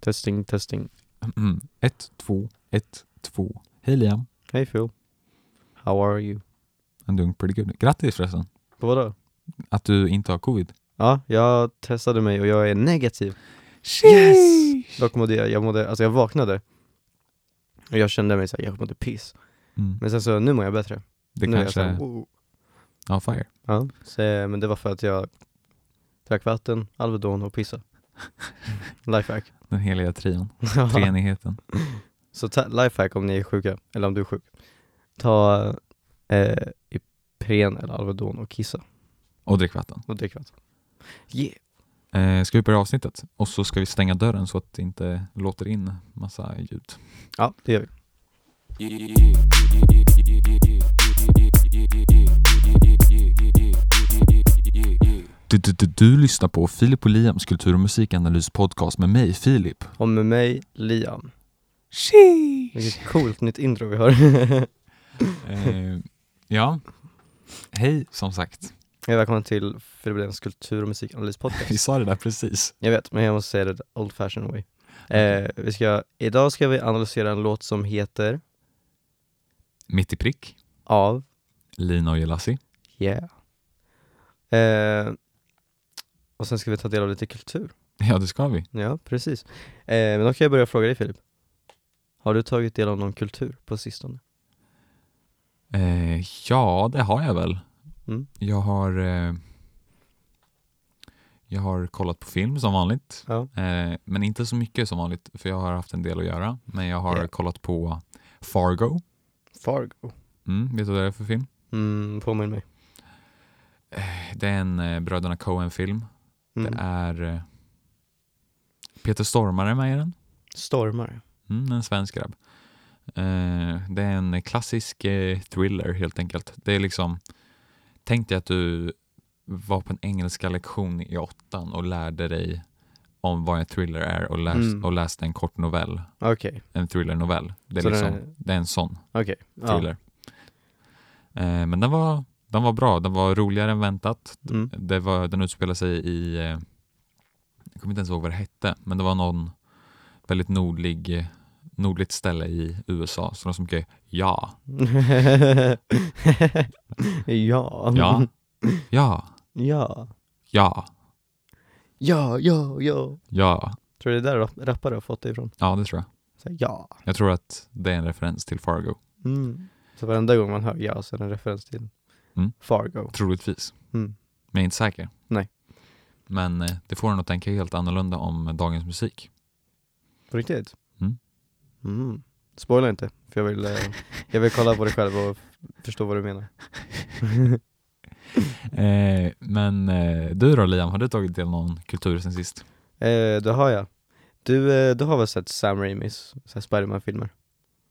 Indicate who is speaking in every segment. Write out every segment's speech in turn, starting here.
Speaker 1: Testing, testing.
Speaker 2: Mm. Ett, två, ett, två. Hej Liam.
Speaker 1: Hej Phil. How are you?
Speaker 2: I'm doing pretty good. Grattis förresten,
Speaker 1: På Vadå?
Speaker 2: att du inte har covid.
Speaker 1: Ja, jag testade mig och jag är negativ. Dock mådde jag, jag mådde, alltså jag vaknade och jag kände mig såhär, jag mådde piss.
Speaker 2: Mm.
Speaker 1: Men sen så, nu mår jag bättre.
Speaker 2: Det
Speaker 1: nu
Speaker 2: kanske
Speaker 1: är jag
Speaker 2: är
Speaker 1: såhär, oh.
Speaker 2: on fire.
Speaker 1: ja, så, eh, men det var för att jag drack vatten, Alvedon och pissade. Lifehack.
Speaker 2: Den heliga trion, treenigheten.
Speaker 1: så ta, lifehack om ni är sjuka, eller om du är sjuk. Ta eh, Ipren eller Alvedon och kissa
Speaker 2: Och drick vatten.
Speaker 1: och drick vatten. Yeah.
Speaker 2: Eh, ska vi börja avsnittet? Och så ska vi stänga dörren så att det inte låter in massa ljud.
Speaker 1: Ja, det gör vi.
Speaker 2: Du, du, du, du lyssnar på Filip och Liams kultur och musikanalys podcast med mig, Filip.
Speaker 1: Och med mig, Liam. Vilket coolt nytt intro vi har.
Speaker 2: Eh, ja. Hej, som sagt.
Speaker 1: Hej välkommen till Filibulens kultur och
Speaker 2: Vi
Speaker 1: musikanalys-podcast.
Speaker 2: sa det där precis.
Speaker 1: Jag vet, men jag måste säga det the old fashioned way. Eh, vi ska, idag ska vi analysera en låt som heter
Speaker 2: Mitt i prick,
Speaker 1: Av,
Speaker 2: Lina och Jelassi.
Speaker 1: yeah. Eh, och sen ska vi ta del av lite kultur.
Speaker 2: Ja, det ska vi.
Speaker 1: Ja, precis. Eh, men då kan jag börja fråga dig Filip. Har du tagit del av någon kultur på sistone?
Speaker 2: Eh, ja, det har jag väl.
Speaker 1: Mm.
Speaker 2: Jag har eh, Jag har kollat på film som vanligt.
Speaker 1: Ja.
Speaker 2: Eh, men inte så mycket som vanligt, för jag har haft en del att göra. Men jag har
Speaker 1: Ja.
Speaker 2: kollat på Fargo.
Speaker 1: Fargo.
Speaker 2: Mm, vet du vad det är för film?
Speaker 1: Mm, påminn mig.
Speaker 2: Det är en eh, Bröderna Coen-film.
Speaker 1: Mm.
Speaker 2: Det är eh, Peter Stormare med i den.
Speaker 1: Stormar.
Speaker 2: Mm, en svensk grabb. Eh, det är en klassisk eh, thriller helt enkelt. Det är liksom, tänk dig att du var på en engelska lektion i åttan och lärde dig om vad en thriller är och, läs,
Speaker 1: Mm.
Speaker 2: och läste en kort novell,
Speaker 1: Okej,
Speaker 2: en thrillernovell. Det är,
Speaker 1: Så den
Speaker 2: liksom,
Speaker 1: är-
Speaker 2: det är en sån
Speaker 1: okej. Ja.
Speaker 2: thriller. Eh, men den var, den var bra, den var roligare än väntat.
Speaker 1: Mm.
Speaker 2: Det var, den utspelar sig i, eh, jag kommer inte ens ihåg vad det hette, men det var någon väldigt nordlig, eh, nordligt ställe i USA. Så de som skrev ja,
Speaker 1: ja.
Speaker 2: ja, ja,
Speaker 1: Ja.
Speaker 2: ja,
Speaker 1: Ja, ja, ja.
Speaker 2: ja.
Speaker 1: Tror du det är där rap- rappare har fått det ifrån?
Speaker 2: Ja, det tror jag.
Speaker 1: Så här, ja.
Speaker 2: Jag tror att det är en referens till Fargo,
Speaker 1: Mm. Så varenda gång man hör ja så är det en referens till
Speaker 2: Mm.
Speaker 1: Fargo.
Speaker 2: troligtvis.
Speaker 1: Mm.
Speaker 2: Men jag är inte säker.
Speaker 1: Nej.
Speaker 2: Men eh, det får en att tänka helt annorlunda om dagens musik.
Speaker 1: På riktigt?
Speaker 2: Mm.
Speaker 1: Mm. Spoila inte, för jag vill, eh, jag vill kolla på det själv och f- förstå vad du menar.
Speaker 2: Eh, men eh, du då Liam, har du tagit del av någon kultur sen sist?
Speaker 1: Eh, det har jag. Du, eh, du har väl sett Sam Raimis så här Spiderman-filmer?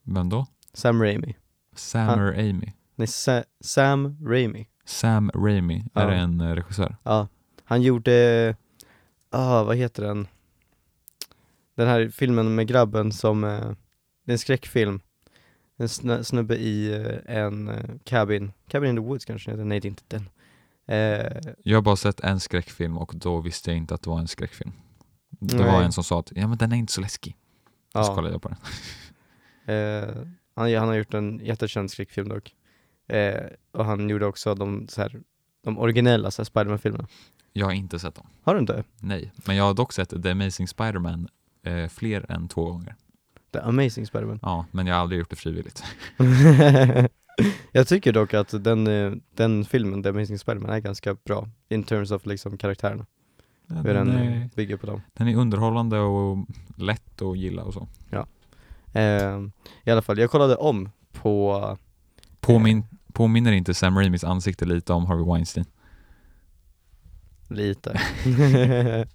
Speaker 2: Vem då?
Speaker 1: Sam Raimi?
Speaker 2: Sam
Speaker 1: Han-
Speaker 2: or Amy?
Speaker 1: Nej, Sa- Sam Raimi.
Speaker 2: Sam Raimi,
Speaker 1: Ja.
Speaker 2: är det en eh, regissör?
Speaker 1: Ja, han gjorde, ah vad heter den? Den här filmen med grabben som, eh, det är en skräckfilm. En snö, snubbe i eh, en eh, cabin, Cabin in the Woods kanske den heter, nej det är inte den. Eh,
Speaker 2: Jag har bara sett en skräckfilm och då visste jag inte att det var en skräckfilm. Det var
Speaker 1: Nej.
Speaker 2: en som sa att ja, men den är inte så läskig. Och så
Speaker 1: ja,
Speaker 2: kollade jag på den.
Speaker 1: eh, han, han har gjort en jättekänd skräckfilm dock. Eh, och han gjorde också de, så här, de originella så här, Spiderman-filmerna.
Speaker 2: Jag har inte sett dem.
Speaker 1: Har du inte?
Speaker 2: Nej, men jag har dock sett The Amazing Spider-Man eh, fler än två gånger.
Speaker 1: The Amazing Spiderman.
Speaker 2: Ja, men jag har aldrig gjort det frivilligt.
Speaker 1: jag tycker dock att den, eh, den filmen, The Amazing Spiderman, är ganska bra in terms of liksom karaktärerna. Hur den
Speaker 2: Den
Speaker 1: eh,
Speaker 2: är,
Speaker 1: bygger på dem.
Speaker 2: den är underhållande och lätt att gilla och så.
Speaker 1: Eh, I alla fall, jag kollade om på,
Speaker 2: Påmin, påminner inte Sam Raimis ansikte lite om Harvey Weinstein?
Speaker 1: lite.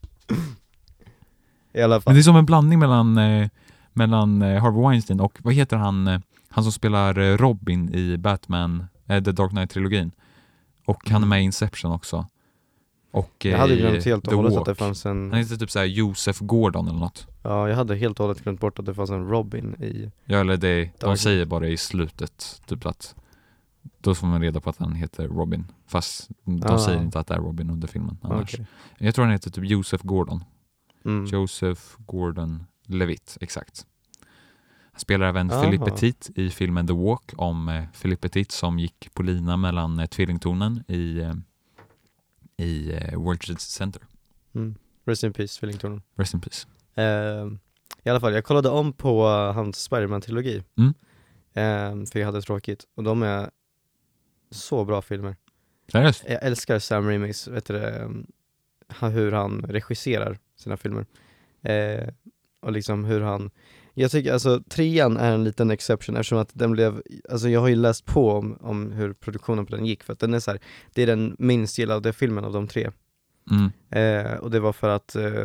Speaker 1: I alla
Speaker 2: Men
Speaker 1: fall.
Speaker 2: det är som en blandning mellan, eh, mellan eh, Harvey Weinstein och, vad heter han, eh, han som spelar eh, Robin i Batman, eh, The Dark Knight-trilogin. Och han är med i Inception också. Och
Speaker 1: Mm.
Speaker 2: eh,
Speaker 1: Jag hade
Speaker 2: i
Speaker 1: glömt helt och
Speaker 2: The
Speaker 1: hållet
Speaker 2: Walk.
Speaker 1: att det fanns
Speaker 2: Han
Speaker 1: en,
Speaker 2: heter typ såhär Josef Gordon eller något.
Speaker 1: ja jag hade helt och hållet glömt bort att det fanns en Robin i,
Speaker 2: Ja eller det, de
Speaker 1: Knight.
Speaker 2: säger bara i slutet, typ att då får man reda på att han heter Robin. Fast de
Speaker 1: Ah.
Speaker 2: säger inte att det är Robin under filmen annars.
Speaker 1: okej.
Speaker 2: Jag tror han heter typ Josef Gordon.
Speaker 1: Mm.
Speaker 2: Joseph Gordon Levitt, exakt. Han spelar även
Speaker 1: Aha.
Speaker 2: Philippe Petit i filmen The Walk om eh, Philippe Petit som gick på lina mellan eh, tvillingtornen i, eh, i eh, World Trade Center.
Speaker 1: Mm. Rest in peace, Fillington.
Speaker 2: Rest in peace.
Speaker 1: Ehm, I alla fall, jag kollade om på hans Spiderman-trilogi.
Speaker 2: Mm.
Speaker 1: Ehm, för jag hade tråkigt. Och de är så bra filmer.
Speaker 2: Seriöst?
Speaker 1: Jag älskar Sam Raimis, vet du, det, ehm, ha- hur han regisserar sina filmer. Eh, och liksom hur han, jag tycker alltså trean är en liten exception eftersom att den blev, alltså jag har ju läst på om, om hur produktionen på den gick för att den är så här, det är den minst gillade filmen av de tre.
Speaker 2: Mm.
Speaker 1: Eh, och det var för att eh,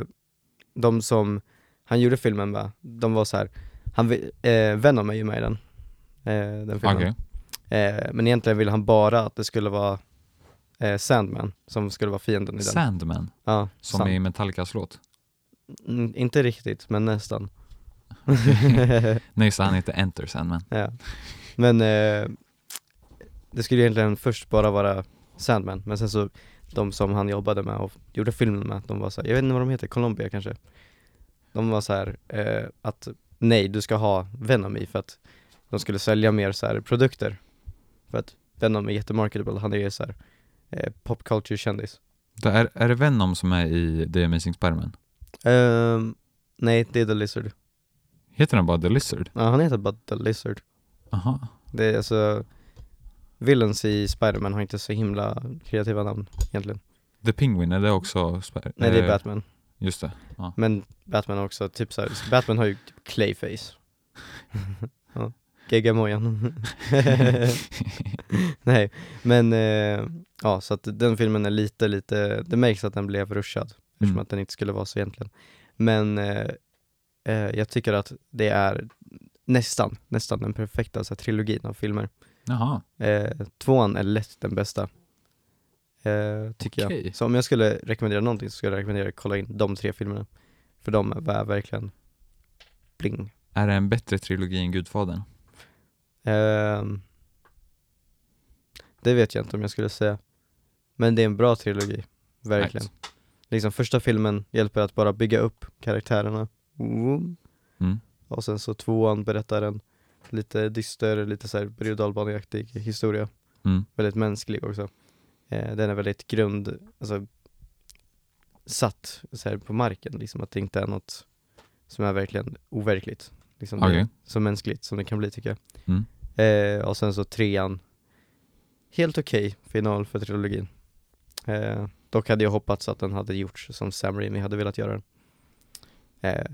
Speaker 1: de som han gjorde filmen med, de var så här, han, vi- eh, Venom är ju med i den, eh, den filmen.
Speaker 2: Okej.
Speaker 1: Eh, men egentligen ville han bara att det skulle vara eh, Sandman som skulle vara fienden i den.
Speaker 2: Sandman,
Speaker 1: ja,
Speaker 2: som
Speaker 1: Sand-
Speaker 2: i Metallicas låt.
Speaker 1: Mm, inte riktigt, men nästan.
Speaker 2: Nej, så han
Speaker 1: Mm.
Speaker 2: heter Enter Sandman.
Speaker 1: ja. Men eh, det skulle egentligen först bara vara Sandman, men sen så de som han jobbade med och gjorde filmen med, de var så här, jag vet inte vad de heter, Colombia kanske? De var så här eh, att nej, du ska ha Venom i för att de skulle sälja mer så här produkter. För att Venom är jättemarketable, han är ju så här eh, popculture-kändis.
Speaker 2: Det är, är det Venom som är i The Amazing Spiderman?
Speaker 1: Ehm, nej, det är The Lizard.
Speaker 2: Heter han bara The Lizard?
Speaker 1: Ja, han heter bara The Lizard.
Speaker 2: Aha.
Speaker 1: Det är alltså, villains i Spider-Man har inte så himla kreativa namn egentligen.
Speaker 2: The Penguin, är det också Spider-
Speaker 1: Nej, det är
Speaker 2: eh,
Speaker 1: Batman.
Speaker 2: Just det.
Speaker 1: Men Batman har också, typ såhär, Batman har ju typ Clayface. ja, Geggamojan. nej, men eh, ja, så att den filmen är lite, lite, det märks att den blev rushad. eftersom
Speaker 2: Mm.
Speaker 1: att den inte skulle vara så egentligen. Men eh, eh, jag tycker att det är nästan, nästan den perfekta så här, trilogin av filmer.
Speaker 2: Jaha.
Speaker 1: Eh, tvåan är lätt den bästa, eh, tycker
Speaker 2: Okej.
Speaker 1: jag. Så om jag skulle rekommendera någonting så skulle jag rekommendera att kolla in de tre filmerna. För de är ver- verkligen bling.
Speaker 2: Är det en bättre trilogi än Gudfadern?
Speaker 1: Ehm, det vet jag inte om jag skulle säga. Men det är en bra trilogi, verkligen.
Speaker 2: Right.
Speaker 1: Liksom första filmen hjälper att bara bygga upp karaktärerna. Vroom.
Speaker 2: Mm.
Speaker 1: Och sen så tvåan berättar en lite dyster, lite såhär berg och dalbaneaktig historia.
Speaker 2: Mm.
Speaker 1: Väldigt mänsklig också. Eh, den är väldigt grund, alltså satt så här på marken liksom, att det inte är något som är verkligen overkligt. Liksom det,
Speaker 2: Okej.
Speaker 1: så mänskligt som det kan bli tycker jag.
Speaker 2: Mm.
Speaker 1: Eh, och sen så trean, helt okej final för trilogin. Eh, dock hade jag hoppats att den hade gjorts som Sam Raimi hade velat göra den. Eh,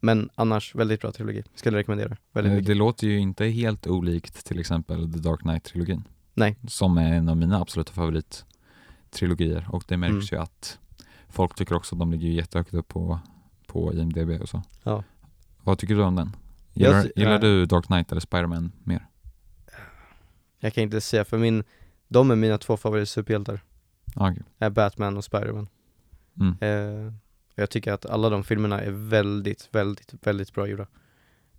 Speaker 1: men annars, väldigt bra trilogi. Skulle rekommendera. Väldigt
Speaker 2: Eh,
Speaker 1: mycket.
Speaker 2: Det låter ju inte helt olikt till exempel The Dark Knight-trilogin.
Speaker 1: Nej.
Speaker 2: Som är en av mina absoluta favorittrilogier och det märks
Speaker 1: Mm.
Speaker 2: ju att folk tycker också att de ligger ju jättehögt upp på, på IMDB och så.
Speaker 1: Ja.
Speaker 2: Vad tycker du om den?
Speaker 1: Jag eh.
Speaker 2: Gillar,
Speaker 1: ty-
Speaker 2: gillar
Speaker 1: nej.
Speaker 2: du Dark Knight eller Spider-Man mer?
Speaker 1: Jag kan inte säga, för min, de är mina två favoritsuperhjältar.
Speaker 2: Ja, Ah, okej.
Speaker 1: Är Batman och Spiderman.
Speaker 2: Mm.
Speaker 1: Eh, och jag tycker att alla de filmerna är väldigt, väldigt, väldigt bra gjorda.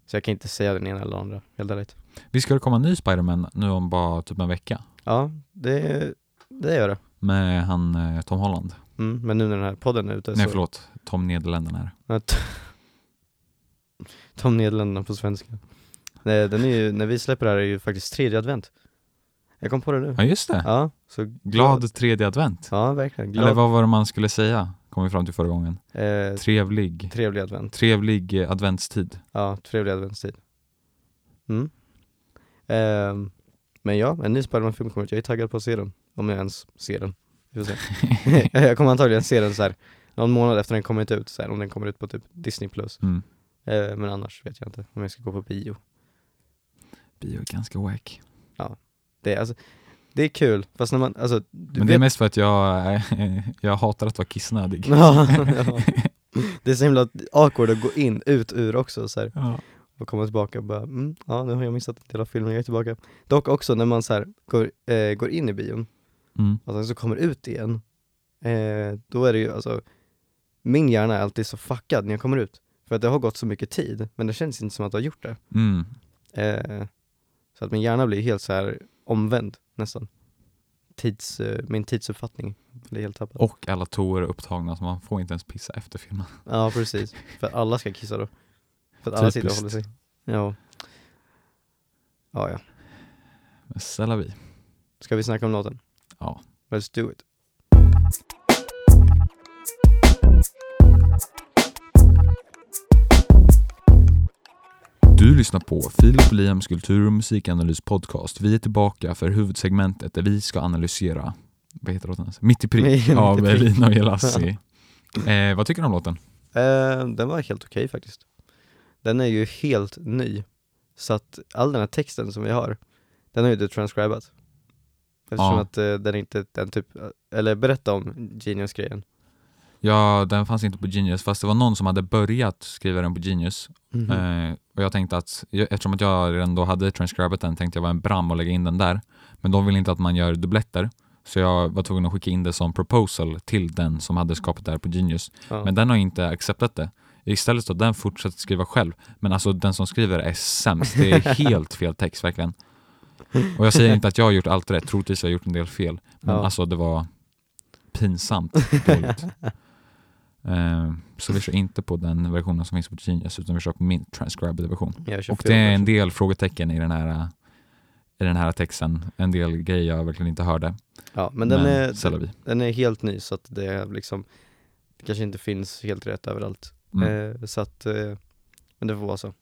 Speaker 1: Så jag kan inte säga den ena eller den andra, helt ärligt.
Speaker 2: Vi ska det komma en ny Spider-Man nu om bara typ en vecka
Speaker 1: Ja, det, det gör det.
Speaker 2: med han eh, Tom Holland.
Speaker 1: Mm, men nu när den här podden är ute
Speaker 2: Nej
Speaker 1: så Mm.
Speaker 2: förlåt, Tom Nederländerna är det.
Speaker 1: Att De Nederländerna på svenska. Nej, den är ju, när vi släpper det här är ju faktiskt tredje advent. Jag kom på det nu.
Speaker 2: Ja just det,
Speaker 1: Ja, så
Speaker 2: glad tredje advent.
Speaker 1: Ja, verkligen.
Speaker 2: Eller
Speaker 1: Glad.
Speaker 2: vad var det man skulle säga? Kom vi fram till förra gången.
Speaker 1: Eh,
Speaker 2: Trevlig,
Speaker 1: trevlig advent.
Speaker 2: trevlig eh, adventstid.
Speaker 1: Ja, trevlig adventstid. Mm. Ehm, men ja, en ny Spiderman-film kommer ut. Jag är taggad på att se den. Om jag ens ser den. Vi får se. jag kommer antagligen se den så här någon månad efter den kommit ut, så här, om den kommer ut på typ Disney+. Plus.
Speaker 2: Mm.
Speaker 1: Eh, men annars vet jag inte om jag ska gå på bio.
Speaker 2: Bio är ganska wack.
Speaker 1: Det är, alltså, det är kul, fast när man, alltså du
Speaker 2: Men det är
Speaker 1: vet
Speaker 2: mest för att jag, eh, jag hatar att vara kissnödig.
Speaker 1: ja, ja. Det är så himla awkward att gå in, ut ur också så här,
Speaker 2: Ja.
Speaker 1: och komma tillbaka och bara mm, ja nu har jag missat en del av filmen, jag är tillbaka Dock också när man så här, går, eh, går in i bion
Speaker 2: Mm.
Speaker 1: och sen så Alltså, kommer ut igen eh, Då är det ju alltså, min hjärna är alltid så fuckad när jag kommer ut För att det har gått så mycket tid, men det känns inte som att det har gjort det
Speaker 2: Mm.
Speaker 1: eh, Så att min hjärna blir helt så här omvänd nästan Tids, eh, Min tidsuppfattning blir helt tappad
Speaker 2: Och alla toor är upptagna så man får inte ens pissa efter filmen.
Speaker 1: Ja precis, för alla ska kissa då För att alla sitter och håller
Speaker 2: Typiskt.
Speaker 1: sig. Ja. Ja, ja.
Speaker 2: Snälla vi.
Speaker 1: Ska vi snacka om låten?
Speaker 2: Ja.
Speaker 1: Let's do it.
Speaker 2: Du lyssnar på Filip och Liams kultur och musikanalys podcast. Vi är tillbaka för huvudsegmentet där vi ska analysera, vad heter låten? ens? Mitt i prick
Speaker 1: Mitt i
Speaker 2: av
Speaker 1: prick.
Speaker 2: Elina och Jelassi. eh, vad tycker du om låten?
Speaker 1: Eh, den var helt okej faktiskt. Den är ju helt ny. Så att all den här texten som vi har, den är ju transcribat. Eftersom
Speaker 2: Ja.
Speaker 1: att eh, den inte, den typ, eller berätta om Genius-grejen.
Speaker 2: Ja, den fanns inte på Genius, fast det var någon som hade börjat skriva den på Genius.
Speaker 1: Mhm.
Speaker 2: Eh, och jag tänkte att, jag, eftersom att jag redan då hade transcribat den, tänkte jag var en bram och lägga in den där. Men de vill inte att man gör dubbletter, så jag var tvungen att skicka in det som proposal till den som hade skapat det här på Genius.
Speaker 1: ja.
Speaker 2: Men den har inte acceptat det. Istället så har den fortsatt skriva själv. Men alltså den som skriver är sämst. Det är helt fel text verkligen. Och jag säger inte att jag har gjort allt rätt. Troligtvis har jag gjort en del fel. Men
Speaker 1: Ja.
Speaker 2: alltså det var pinsamt dåligt. Eh, så vi kör inte på den versionen som finns på Genius utan vi kör på min transcribed version.
Speaker 1: Jag kör
Speaker 2: Och
Speaker 1: fel
Speaker 2: det är en
Speaker 1: version.
Speaker 2: del frågetecken i den här i den här texten, en del grejer jag verkligen inte hörde.
Speaker 1: ja, men den,
Speaker 2: c'est la
Speaker 1: är,
Speaker 2: vie.
Speaker 1: den är helt ny så att det är liksom, det kanske inte finns helt rätt överallt.
Speaker 2: Mm.
Speaker 1: Eh, så att, eh, men det får vara så.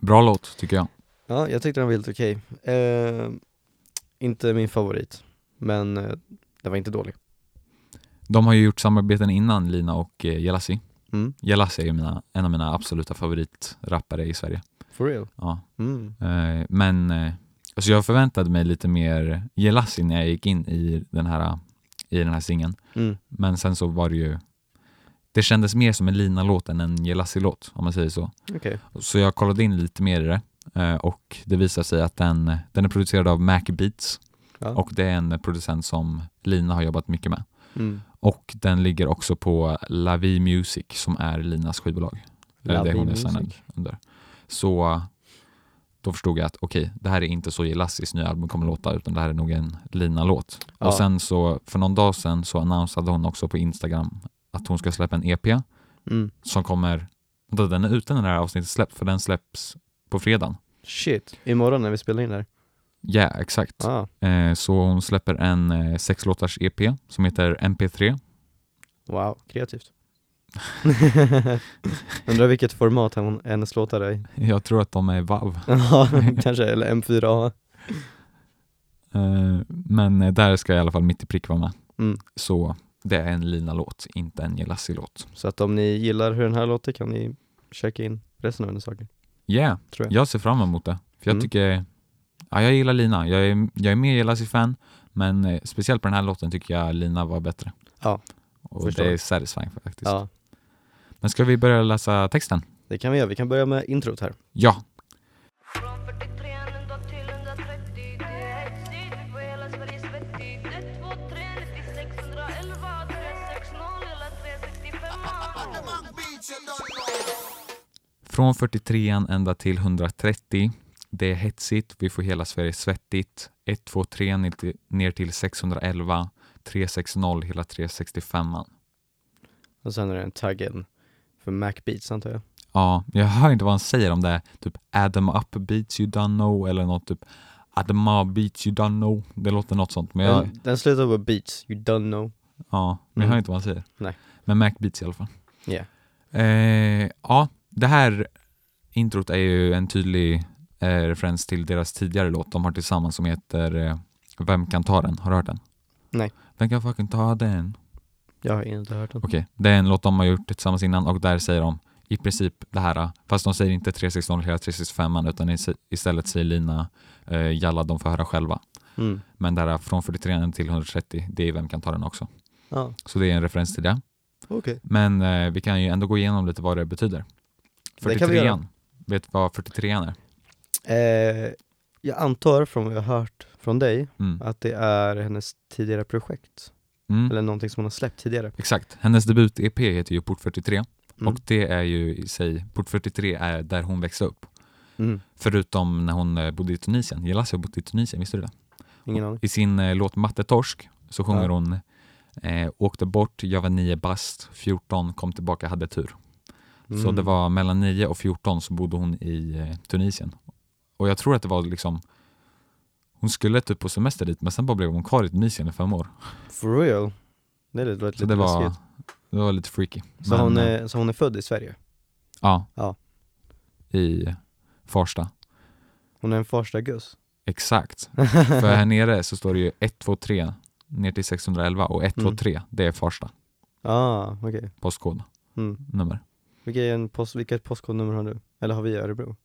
Speaker 2: Bra låt tycker jag.
Speaker 1: Ja, jag tyckte den var helt okej. Eh, inte min favorit, men eh, den var inte dålig.
Speaker 2: De har ju gjort samarbeten innan, Lina och eh, Jelassi.
Speaker 1: Mm.
Speaker 2: Jelas är ju mina, en av mina absoluta favoritrappare i Sverige.
Speaker 1: For real?
Speaker 2: Ja.
Speaker 1: Mm.
Speaker 2: Eh, men eh, alltså jag förväntade mig lite mer Jelas när jag gick in i den här, i den här singeln.
Speaker 1: Mm.
Speaker 2: Men sen så var det ju det kändes mer som en Lina-låt än en Jelassi-låt, om man säger så.
Speaker 1: Okej.
Speaker 2: Så jag kollade in lite mer i det eh, och det visar sig att den, eh, den är producerad av Mac Beats
Speaker 1: Ja.
Speaker 2: och det är en producent som Lina har jobbat mycket med.
Speaker 1: Mm.
Speaker 2: Och den ligger också på Lavi Music som är Linas skivbolag. Eller det
Speaker 1: Lovely
Speaker 2: hon är
Speaker 1: music.
Speaker 2: signad under. Så då förstod jag att okej, det här är inte så Jelassis nya album kommer låta utan det här är nog en Lina-låt.
Speaker 1: Ja.
Speaker 2: Och sen så, för någon dag sedan så annonsade hon också på Instagram att hon ska släppa en EP
Speaker 1: Mm.
Speaker 2: som kommer, vänta, den är ute när det här avsnittet släpps för den släpps på fredagen.
Speaker 1: Shit, imorgon när vi spelar in där.
Speaker 2: Ja, exakt.
Speaker 1: Ah.
Speaker 2: Eh, så hon släpper en eh, sexlåtars EP som heter MP3.
Speaker 1: Wow, kreativt. Undrar vilket format hon- hennes låtar är i.
Speaker 2: Jag tror att de är vav.
Speaker 1: Ja, kanske, eller M4A.
Speaker 2: Eh, men eh, där ska jag i alla fall mitt i prick vara med.
Speaker 1: Mm.
Speaker 2: Så det är en Lina-låt, inte en Jelassi-låt.
Speaker 1: Så att om ni gillar hur den här låter kan ni checka in resten av hennes saker,
Speaker 2: Yeah,
Speaker 1: tror jag.
Speaker 2: jag ser fram emot det. För jag
Speaker 1: Mm.
Speaker 2: tycker, ja jag gillar Lina. Jag är, jag är mer Jelassi-fan, men eh, speciellt på den här låten tycker jag Lina var bättre.
Speaker 1: Ja,
Speaker 2: Och
Speaker 1: förstår.
Speaker 2: det är satisfying faktiskt.
Speaker 1: Ja,
Speaker 2: Men ska vi börja läsa texten?
Speaker 1: det kan vi göra. Vi kan börja med introt här.
Speaker 2: Ja.
Speaker 3: Från 43 ända till 130 Det är ett snitt, vi får hela Sverige svettigt 1, 2, 3, 96, 111, 360, hela 365
Speaker 2: Från 43an ända till 130. Det är hetsigt, vi får hela Sverige svettigt. 123 ner till- ner till 611. 360 hela 365an.
Speaker 1: Och sen är det en taggen för Mac Beats antar jag.
Speaker 2: Ja, jag hör inte vad han säger om det. Typ Adam up beats you don't know eller något typ Adam up beats you don't know. Det låter något sånt, men jag,
Speaker 1: Den, den slutar på beats, you don't know.
Speaker 2: ja, men jag
Speaker 1: Mm.
Speaker 2: hör inte vad han säger.
Speaker 1: Nej.
Speaker 2: Men Mac beats i alla fall.
Speaker 1: Yeah.
Speaker 2: Eh, ja, det här introt är ju en tydlig eh, referens till deras tidigare låt de har tillsammans som heter eh, Vem kan ta den? Har du hört den?
Speaker 1: Nej.
Speaker 2: Vem kan fucking ta den?
Speaker 1: Jag har inte hört den.
Speaker 2: Okej, det är en låt de har gjort tillsammans innan och där säger de i princip det här, fast de säger inte 360 hela 365 utan is- istället säger Lina eh, Jalla, de får höra själva.
Speaker 1: Mm.
Speaker 2: Men det här från 43 till 130, det är Vem kan ta den också.
Speaker 1: Ja,
Speaker 2: Så det är en referens till det.
Speaker 1: okej.
Speaker 2: Men eh, vi kan ju ändå gå igenom lite vad det betyder.
Speaker 1: Det kan vi göra.
Speaker 2: 43an, vet du vad 43an är?
Speaker 1: Eh, jag antar från vad jag har hört från dig
Speaker 2: Mm.
Speaker 1: att det är hennes tidigare projekt.
Speaker 2: Mm.
Speaker 1: Eller någonting som hon har släppt tidigare.
Speaker 2: Exakt, hennes debut-EP heter ju Port 43
Speaker 1: Mm.
Speaker 2: och det är ju i sig, Port 43 är där hon växte upp.
Speaker 1: Mm.
Speaker 2: Förutom när hon eh, bodde i Tunisien. Jelassi har bott i Tunisien, visste du det?
Speaker 1: Ingen aning.
Speaker 2: I sin eh, låt Mattetorsk så sjunger
Speaker 1: Ja.
Speaker 2: hon eh, Åkte bort, jag var nio bast, 14, kom tillbaka, hade tur.
Speaker 1: Mm.
Speaker 2: Så det var mellan 9 och 14 så bodde hon i eh, Tunisien. Och jag tror att det var liksom hon skulle typ på semester dit men sen bara blev hon kvar i Tunisien i fem år.
Speaker 1: For real? Det lät lite
Speaker 2: Så det var,
Speaker 1: läskigt.
Speaker 2: det var lite freaky.
Speaker 1: Så,
Speaker 2: Men,
Speaker 1: hon
Speaker 2: eh,
Speaker 1: är, så hon är född i Sverige?
Speaker 2: Ja.
Speaker 1: Ja.
Speaker 2: I Farsta.
Speaker 1: Hon är en första guss?
Speaker 2: Exakt. För här nere så står det ju 123 ner till 611 och
Speaker 1: Mm.
Speaker 2: 123 det är Farsta
Speaker 1: Ah, okej.
Speaker 2: postkod
Speaker 1: Mm.
Speaker 2: nummer.
Speaker 1: Vilken post, vilket postkodnummer har du? Eller har vi i Örebro?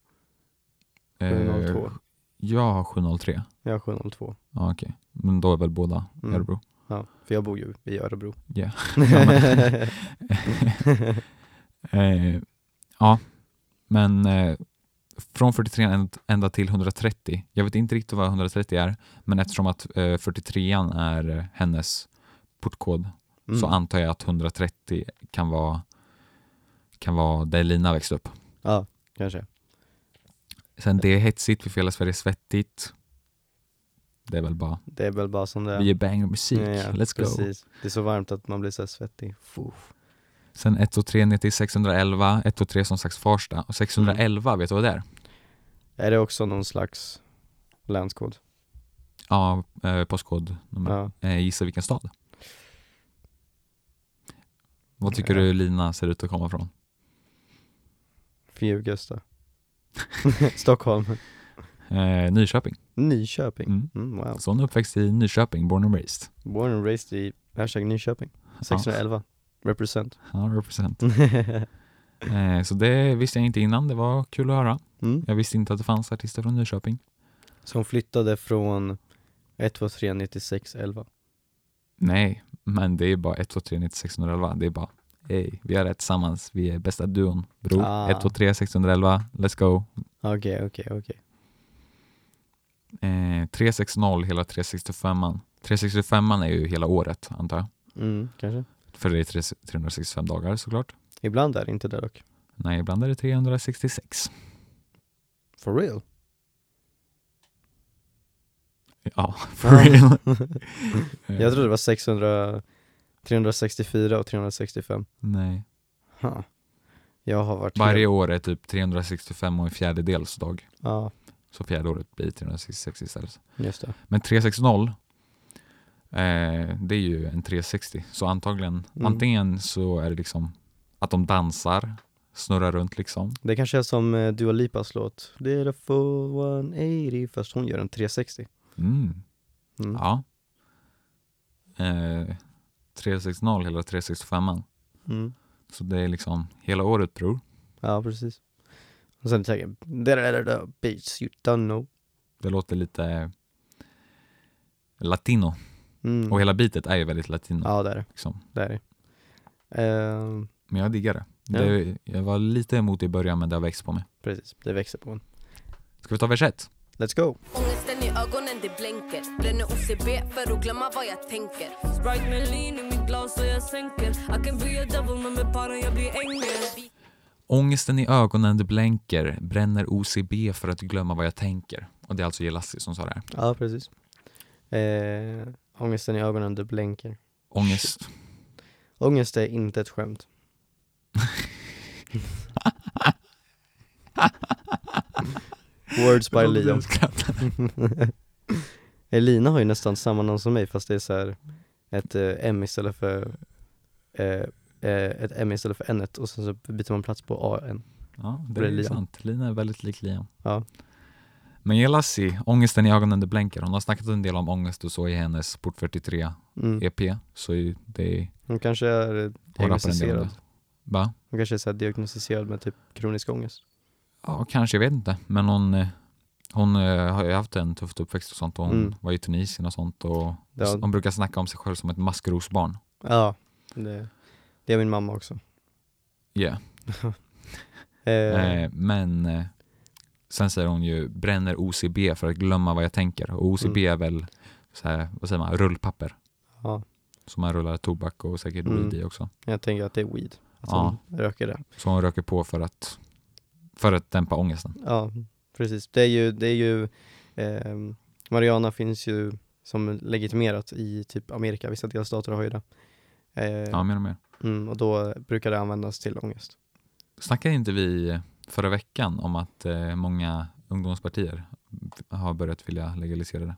Speaker 2: Eh,
Speaker 1: 702?
Speaker 2: jag har 703.
Speaker 1: Jag har 702.
Speaker 2: Ja okej, men då är väl båda
Speaker 1: Mm.
Speaker 2: Örebro.
Speaker 1: Ja, för jag bor ju i Örebro.
Speaker 2: Yeah. Ja, men- Eh, ja, men eh, från 43 änd- ända till 130. Jag vet inte riktigt vad 130 är, men eftersom att eh, 43 är eh, hennes portkod
Speaker 1: Mm.
Speaker 2: så antar jag att 130 kan vara kan vara där Lina växte upp.
Speaker 1: Ja, kanske.
Speaker 2: Sen det är hetsigt, vi får hela Sverige svettigt. Det är väl bara,
Speaker 1: Det är väl bara som det
Speaker 2: vi är bang musik,
Speaker 1: Ja, ja,
Speaker 2: let's go.
Speaker 1: Precis. Det är så varmt att man blir så här svettig. Fuff.
Speaker 2: Sen 123 ner till 611, 123 som sagt Farsta och 611 vet du vad det är?
Speaker 1: Är det också någon slags länskod?
Speaker 2: Ja, eh, postkod nummer.
Speaker 1: Ja.
Speaker 2: Eh, gissa vilken stad? Vad tycker
Speaker 1: Ja.
Speaker 2: du Lina ser ut att komma från?
Speaker 1: Fjugesta. Stockholm.
Speaker 2: Eh, Nyköping.
Speaker 1: Nyköping.
Speaker 2: Mm.
Speaker 1: Mm, wow.
Speaker 2: Så hon är uppväxt i Nyköping, born and raised.
Speaker 1: Born and raised i hashtag Nyköping. 611. Represent.
Speaker 2: Ja, represent. Eh, så det visste jag inte innan, det var kul att höra.
Speaker 1: Mm.
Speaker 2: Jag visste inte att det fanns artister från Nyköping.
Speaker 1: Så hon flyttade från 123 96 11.
Speaker 2: Nej, men det är bara 123 9611. Det är bara, hej, vi har rätt tillsammans, vi är bästa duon. Bror,
Speaker 1: Ah.
Speaker 2: 123 611, let's go.
Speaker 1: Okej, okej, okej.
Speaker 2: Eh, 360 hela 365an. 365an är ju hela året antar jag.
Speaker 1: Mm, kanske.
Speaker 2: För det är 3 365 dagar såklart.
Speaker 1: Ibland är det inte det dock.
Speaker 2: Nej, ibland är det 366.
Speaker 1: For real?
Speaker 2: Ja, for real. Eh,
Speaker 1: Jag trodde det var 600, 364 och 365.
Speaker 2: Nej.
Speaker 1: Ha. Jag har varit
Speaker 2: Varje
Speaker 1: helt-
Speaker 2: år är typ 365 och en fjärdedels dag.
Speaker 1: Ja,
Speaker 2: Så fjärde året blir 366 istället.
Speaker 1: just det.
Speaker 2: Men 360, eh, det är ju en 360. Så antagligen,
Speaker 1: Mm.
Speaker 2: antingen så är det liksom att de dansar, snurrar runt liksom.
Speaker 1: Det kanske är som eh, Dua Lipas låt Beautiful 180 fast hon gör en 360
Speaker 2: Mm.
Speaker 1: mm.
Speaker 2: Ja. Eh, 360 hela 365
Speaker 1: Mm.
Speaker 2: Så det är liksom hela året bror.
Speaker 1: ja, precis Och sen taggen "Da-da-da-da, Bitch you don't know
Speaker 2: Det låter lite latino.
Speaker 1: mm.
Speaker 2: Och hela bitet är ju väldigt latino.
Speaker 1: Ja, där,
Speaker 2: Liksom.
Speaker 1: där är det Ehm,
Speaker 2: Men jag diggar det.
Speaker 1: Ja.
Speaker 2: det. Jag var lite emot det i början men det har växt på mig.
Speaker 1: Precis, det växer på en
Speaker 2: Ska vi ta vers ett?
Speaker 1: Let's go!
Speaker 4: Ångesten i ögonen det blänker Bränner OCB för att glömma vad jag tänker
Speaker 5: Sprite med lean i mitt glas och jag sänker I can be a devil men med paran jag blir ängel
Speaker 2: Ångesten i ögonen det blänker, bränner OCB för att glömma vad jag tänker. Och det är alltså Jelassi som sa det här.
Speaker 1: Ja, precis eh, Ångesten i ögonen, det blänker
Speaker 2: Ångest.
Speaker 1: Ångest är inte ett skämt Words by Liam Elina Eh, har ju nästan samma namn som mig fast det är så här ett eh, M istället för eh, eh, ett M istället för N och sen så byter man plats på AN.
Speaker 2: Ja, det
Speaker 1: Blir
Speaker 2: är
Speaker 1: Liam.
Speaker 2: sant. Lina är väldigt lik Liam.
Speaker 1: Ja.
Speaker 2: Men Jelassi, Ångesten i ögonen det blänker. Hon har snackat en del om ångest och så i hennes Port 43
Speaker 1: Mm.
Speaker 2: EP. Så ju- det är...
Speaker 1: Hon kanske är eh,
Speaker 2: hon rappar en del om
Speaker 1: diagnostiserad.
Speaker 2: det. Va?
Speaker 1: Hon kanske är så här diagnostiserad med typ kronisk ångest.
Speaker 2: Ja, kanske, jag vet inte. Men hon, eh, hon eh, har ju haft en tuff uppväxt och sånt och hon
Speaker 1: Mm.
Speaker 2: var i Tunisien och sånt och
Speaker 1: Det har-
Speaker 2: hon brukar snacka om sig själv som ett maskrosbarn.
Speaker 1: Ja, det, det är min mamma också.
Speaker 2: Yeah.
Speaker 1: Eh,
Speaker 2: Eh, men eh, sen säger hon ju bränner OCB för att glömma vad jag tänker och OCB är väl så här, vad säger man, rullpapper
Speaker 1: Mm. Ja,
Speaker 2: som man rullar tobak och säkert
Speaker 1: Mm.
Speaker 2: weed i också.
Speaker 1: jag tänker att det är weed. Att
Speaker 2: Ja.
Speaker 1: hon röker det.
Speaker 2: Så hon röker på för att, för att dämpa ångesten.
Speaker 1: Ja, precis. Det är ju, det är ju ehm, Mariana finns ju som legitimerat i typ Amerika, vissa delstater har ju det. Eh,
Speaker 2: Ja, mer och mer.
Speaker 1: mm, och då brukar det användas till ångest.
Speaker 2: Snackade inte vi förra veckan om att eh, många ungdomspartier har börjat vilja legalisera det?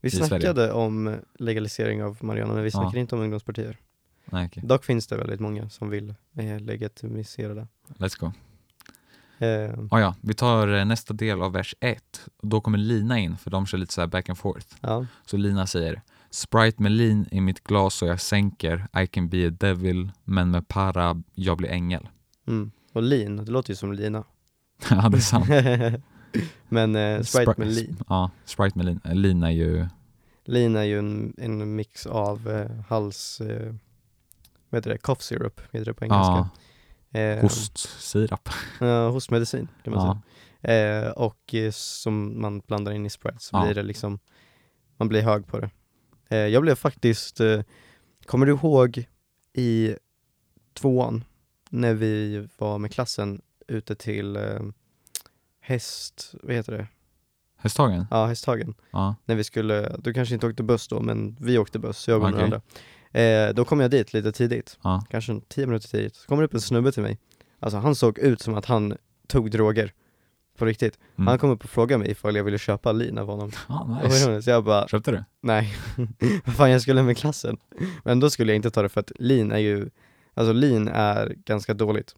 Speaker 1: Vi
Speaker 2: I Sverige.
Speaker 1: snackade om legalisering av marijuana men vi
Speaker 2: Ja.
Speaker 1: snackade inte om ungdomspartier.
Speaker 2: Nej, okej.
Speaker 1: Dock finns det väldigt många som vill eh, legitimisera det.
Speaker 2: Let's go.
Speaker 1: Eh,
Speaker 2: Ah, ja, vi tar eh, nästa del av vers 1. Då kommer Lina in, för de kör lite så här back and forth.
Speaker 1: ja.
Speaker 2: Så Lina säger Sprite med lin i mitt glas så jag sänker I can be a devil men med para jag blir ängel.
Speaker 1: Mm. Och lin, det låter ju som lina.
Speaker 2: ja, det är sant.
Speaker 1: men eh, Sprite med lin.
Speaker 2: Ja, Sprite med lin. Eh, Lin är ju,
Speaker 1: Lin är ju en, en mix av eh, hals, eh, vad heter det, cough syrup heter det på
Speaker 2: ja,
Speaker 1: engelska. Eh,
Speaker 2: hostsirap.
Speaker 1: Ja, hostmedicin kan man
Speaker 2: Ja,
Speaker 1: säga. Eh, och eh, som man blandar in i Sprite så
Speaker 2: Ja.
Speaker 1: blir det liksom, man blir hög på det. Eh, jag blev faktiskt, eh, kommer du ihåg i tvåan när vi var med klassen ute till eh, häst, vad heter det?
Speaker 2: Hästhagen?
Speaker 1: Ja, Hästhagen.
Speaker 2: Ja,
Speaker 1: när vi skulle, du kanske inte åkte buss då, men vi åkte buss, jag och några
Speaker 2: Okej.
Speaker 1: andra. Eh, då kom jag dit lite tidigt,
Speaker 2: ja.
Speaker 1: kanske en tio minuter tidigt, så kom det upp en snubbe till mig. Alltså han såg ut som att han tog droger, på riktigt.
Speaker 2: Mm.
Speaker 1: Han kom upp och frågade mig ifall jag ville köpa lin av honom.
Speaker 2: Ah,
Speaker 1: Och
Speaker 2: nice.
Speaker 1: jag- Så jag bara,
Speaker 2: Köpte du?
Speaker 1: nej, vad fan jag skulle med klassen. Men då skulle jag inte ta det för att lin är ju, alltså lin är ganska dåligt.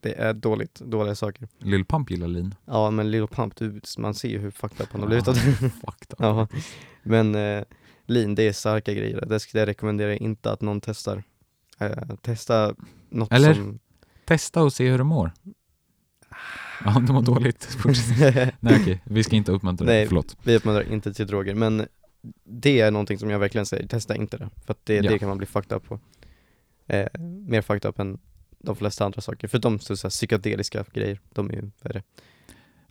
Speaker 1: Det är dåligt, dåliga saker.
Speaker 2: Lill Pump gillar lin.
Speaker 1: Ja men Lil Pump, du, man ser ju hur fucked up han har
Speaker 2: Ja,
Speaker 1: blivit av det.
Speaker 2: Fuck då.
Speaker 1: Ja, men eh, lin, det är starka grejer. Det ska jag rekommendera inte att någon testar. Eh, testa något
Speaker 2: Eller?
Speaker 1: som...
Speaker 2: Testa och se hur du mår. Ja, om du mår dåligt. fortsätt. Nej okej, vi ska inte uppmuntra dig.
Speaker 1: Mm. Nej.
Speaker 2: Förlåt.
Speaker 1: Vi uppmuntrar inte till droger, men det är någonting som jag verkligen säger, testa inte det. För att det,
Speaker 2: Ja.
Speaker 1: det kan man bli fucked up på. Eh, mer fucked up än de flesta andra saker, förutom så, så här, psykedeliska grejer, de är ju värre.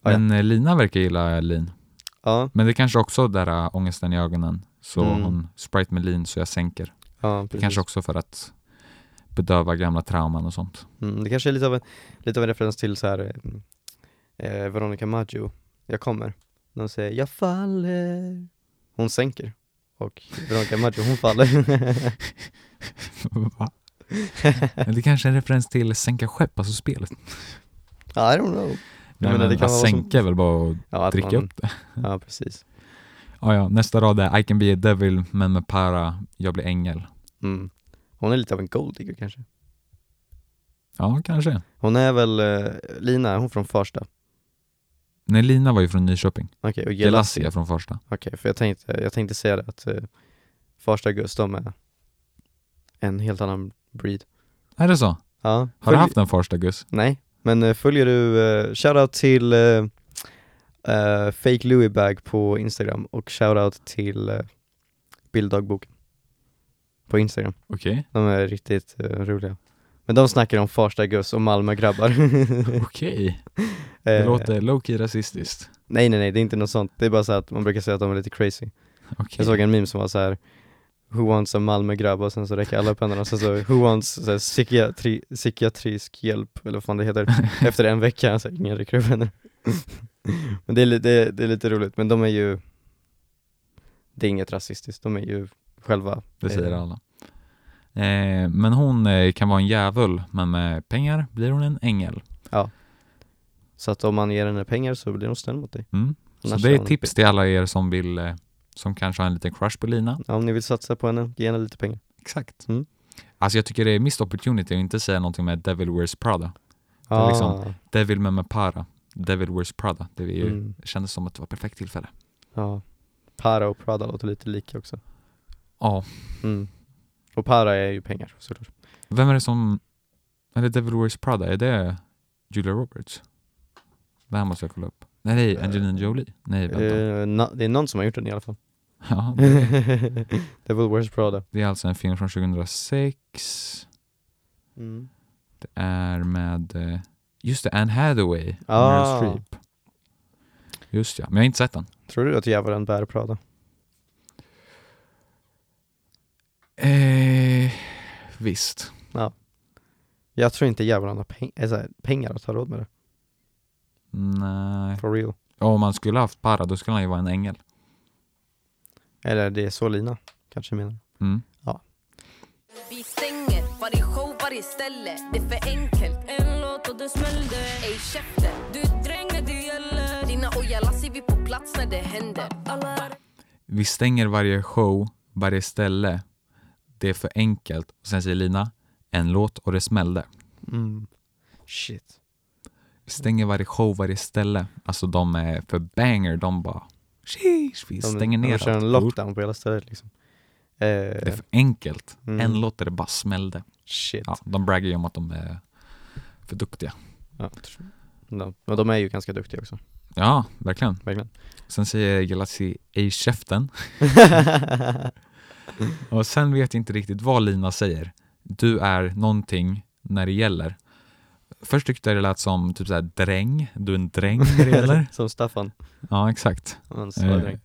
Speaker 1: Ja, ja.
Speaker 2: Men eh, Lina verkar gilla lin.
Speaker 1: Ja,
Speaker 2: Men det kanske också där äh, ångesten i ögonen. Så
Speaker 1: Mm.
Speaker 2: hon Sprite med lin så jag sänker.
Speaker 1: ja
Speaker 2: Det
Speaker 1: precis.
Speaker 2: kanske också för att bedöva gamla trauman och sånt.
Speaker 1: Mm, det kanske är lite av en, lite av en referens till så här, eh, eh, Veronica Maggio, Jag kommer. När hon säger 'Jag faller' Hon sänker. Och Veronica Maggio, hon faller.
Speaker 2: Va? Men det kanske är en referens till Sänka skepp, alltså spelet.
Speaker 1: I don't know.
Speaker 2: Nej,
Speaker 1: menar,
Speaker 2: men
Speaker 1: det kan
Speaker 2: att
Speaker 1: vara som-
Speaker 2: sänka är väl bara att
Speaker 1: Ja, att
Speaker 2: dricka
Speaker 1: man-
Speaker 2: upp det.
Speaker 1: Ja, precis.
Speaker 2: Ja, ja, nästa rad är I can be a devil men med para, jag blir ängel.
Speaker 1: Mm. Hon är lite av en golddigger kanske.
Speaker 2: Ja, kanske.
Speaker 1: Hon är väl, eh, Lina, är hon från Farsta?
Speaker 2: Nej, Lina var ju från Nyköping.
Speaker 1: Okej, och Gelassie.
Speaker 2: Gelassia
Speaker 1: Okej,
Speaker 2: från Farsta.
Speaker 1: för jag tänkte, jag tänkte säga det att eh, Farsta och Gus, de är en helt annan breed.
Speaker 2: Är det så?
Speaker 1: Ja.
Speaker 2: Har du haft en Farsta-Gus?
Speaker 1: Nej, men eh, följer du, eh, shoutout till eh, eh, Fake Louis Bag på Instagram och shoutout till eh, Bilddagboken på Instagram.
Speaker 2: Okej.
Speaker 1: De är riktigt eh, roliga. Men de snackar om Farsta Gus och Eh, Malmögrabbar.
Speaker 2: Okej. Det
Speaker 1: Eh,
Speaker 2: låter low-key rasistiskt.
Speaker 1: Nej nej nej, det är inte något sånt. Det är bara så att man brukar säga att de är lite crazy. Jag såg
Speaker 2: Okej.
Speaker 1: en meme som var så här Who wants a Malmögrabb? Och sen så räcker alla upp händerna och sen så Who wants så här, psykiatri, psykiatrisk hjälp? Eller vad fan det heter. Efter en vecka, så här, ingen räcker upp händerna. men det är, li- det, det är lite roligt, men de är ju Det är inget rasistiskt, de är ju själva
Speaker 2: Det säger
Speaker 1: eh,
Speaker 2: alla. Eh, men hon eh, kan vara en djävul, men med pengar blir hon en ängel.
Speaker 1: Så att om man ger henne pengar så blir hon snäll mot dig.
Speaker 2: Mm. Så
Speaker 1: Annars
Speaker 2: det
Speaker 1: är
Speaker 2: är
Speaker 1: hon-
Speaker 2: tips till alla er som vill, eh, som kanske har en liten crush på Lina.
Speaker 1: Ja, om ni vill satsa på henne, ge henne lite pengar.
Speaker 2: Exakt.
Speaker 1: Mm.
Speaker 2: Alltså jag tycker det är missed opportunity att inte säga någonting med Devil Wears Prada. är liksom-
Speaker 1: Ah,
Speaker 2: Devil med med para. Devil Wears Prada. Det är ju,
Speaker 1: Mm.
Speaker 2: kändes som att det var perfekt tillfälle.
Speaker 1: Ja. Para och Prada låter lite lika också.
Speaker 2: Ja,
Speaker 1: Mm. Och para är ju pengar såklart.
Speaker 2: vem är det som, eller Devil Wears Prada, är det Julia Roberts? Det här måste jag kolla upp. Nej, det är Angelina Jolie. Nej, vänta.
Speaker 1: Eh, na- det är någon som har gjort den i alla fall.
Speaker 2: Ja,
Speaker 1: Devil Wears Prada.
Speaker 2: det är alltså en film från 2006.
Speaker 1: Mm.
Speaker 2: Det är med, eh, just det, Anne Hathaway. och
Speaker 1: Ah.
Speaker 2: Meryl Streep. Just ja, men jag har inte sett den.
Speaker 1: Tror du att djävulen bär Prada?
Speaker 2: Eh, visst.
Speaker 1: Jag tror inte djävulen har peng- äh, så här, pengar att ha råd med det.
Speaker 2: Nej. Mm.
Speaker 1: For real.
Speaker 2: Om man skulle haft para, då skulle han ju vara en ängel.
Speaker 1: Eller det är så Lina kanske menar.
Speaker 2: Mm.
Speaker 4: Vi stänger varje show, varje istället, det är för enkelt
Speaker 5: En låt och det smällde
Speaker 4: Ey käften,
Speaker 5: Du dränger, det gäller
Speaker 4: dina och jag Lassie vi på plats när det händer
Speaker 5: Alla
Speaker 2: Vi stänger varje show, varje ställe. Det är för enkelt. Och sen säger Lina, en låt och det smällde.
Speaker 1: Mm. Shit.
Speaker 2: Vi stänger varje show, varje ställe. Alltså de är för banger. De bara, sheesh, vi
Speaker 1: De,
Speaker 2: stänger ner
Speaker 1: de kör
Speaker 2: allt.
Speaker 1: en lockdown på hela stället liksom.
Speaker 2: Det är
Speaker 1: Eh,
Speaker 2: för enkelt.
Speaker 1: Mm.
Speaker 2: En låt där det bara smällde.
Speaker 1: shit.
Speaker 2: Ja, de braggar ju om att de är för duktiga.
Speaker 1: Ja. De, men de är ju ganska duktiga också,
Speaker 2: Ja, verkligen.
Speaker 1: verkligen.
Speaker 2: Sen säger Galaxy i käften. Och sen vet jag inte riktigt vad Lina säger. Du är någonting när det gäller. Först tyckte jag det lät som typ såhär dräng. Du är en dräng när det gäller.
Speaker 1: Som Staffan,
Speaker 2: Ja, exakt.
Speaker 1: han
Speaker 2: Eh,
Speaker 1: svarade.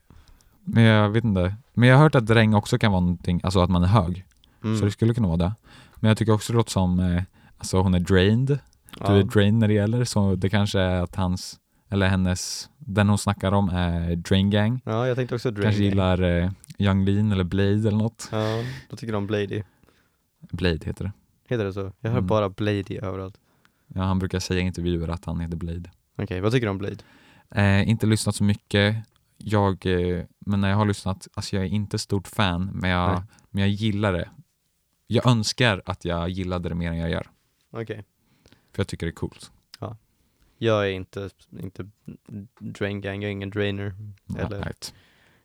Speaker 2: Men jag vet inte. Men jag har hört att dräng också kan vara någonting, alltså att man är hög. Så
Speaker 1: Mm.
Speaker 2: det skulle kunna vara det. Men jag tycker också det låter som, eh, alltså hon är drained. Du är
Speaker 1: Ja.
Speaker 2: drained när det gäller. Så det kanske är att hans, eller hennes, den hon snackar om är drain gang.
Speaker 1: ja, jag tänkte också Drain.
Speaker 2: Kanske
Speaker 1: Gang.
Speaker 2: gillar eh, Young Lean eller Blade eller något.
Speaker 1: Ja, då tycker de Blady.
Speaker 2: Blade heter det.
Speaker 1: Heter det så? Jag hör
Speaker 2: Mm.
Speaker 1: bara Blady överallt.
Speaker 2: Ja, han brukar säga i intervjuer att han heter Blade.
Speaker 1: Okej, vad tycker du om Blade?
Speaker 2: Eh, inte lyssnat så mycket. Jag, eh, men när jag har lyssnat, alltså jag är inte stort fan, men jag,
Speaker 1: Nej.
Speaker 2: men jag gillar det. Jag önskar att jag gillade det mer än jag gör,
Speaker 1: Okej.
Speaker 2: för jag tycker det är coolt.
Speaker 1: Jag är inte, inte Drain Gang, jag är ingen drainer. Eller-
Speaker 2: Right.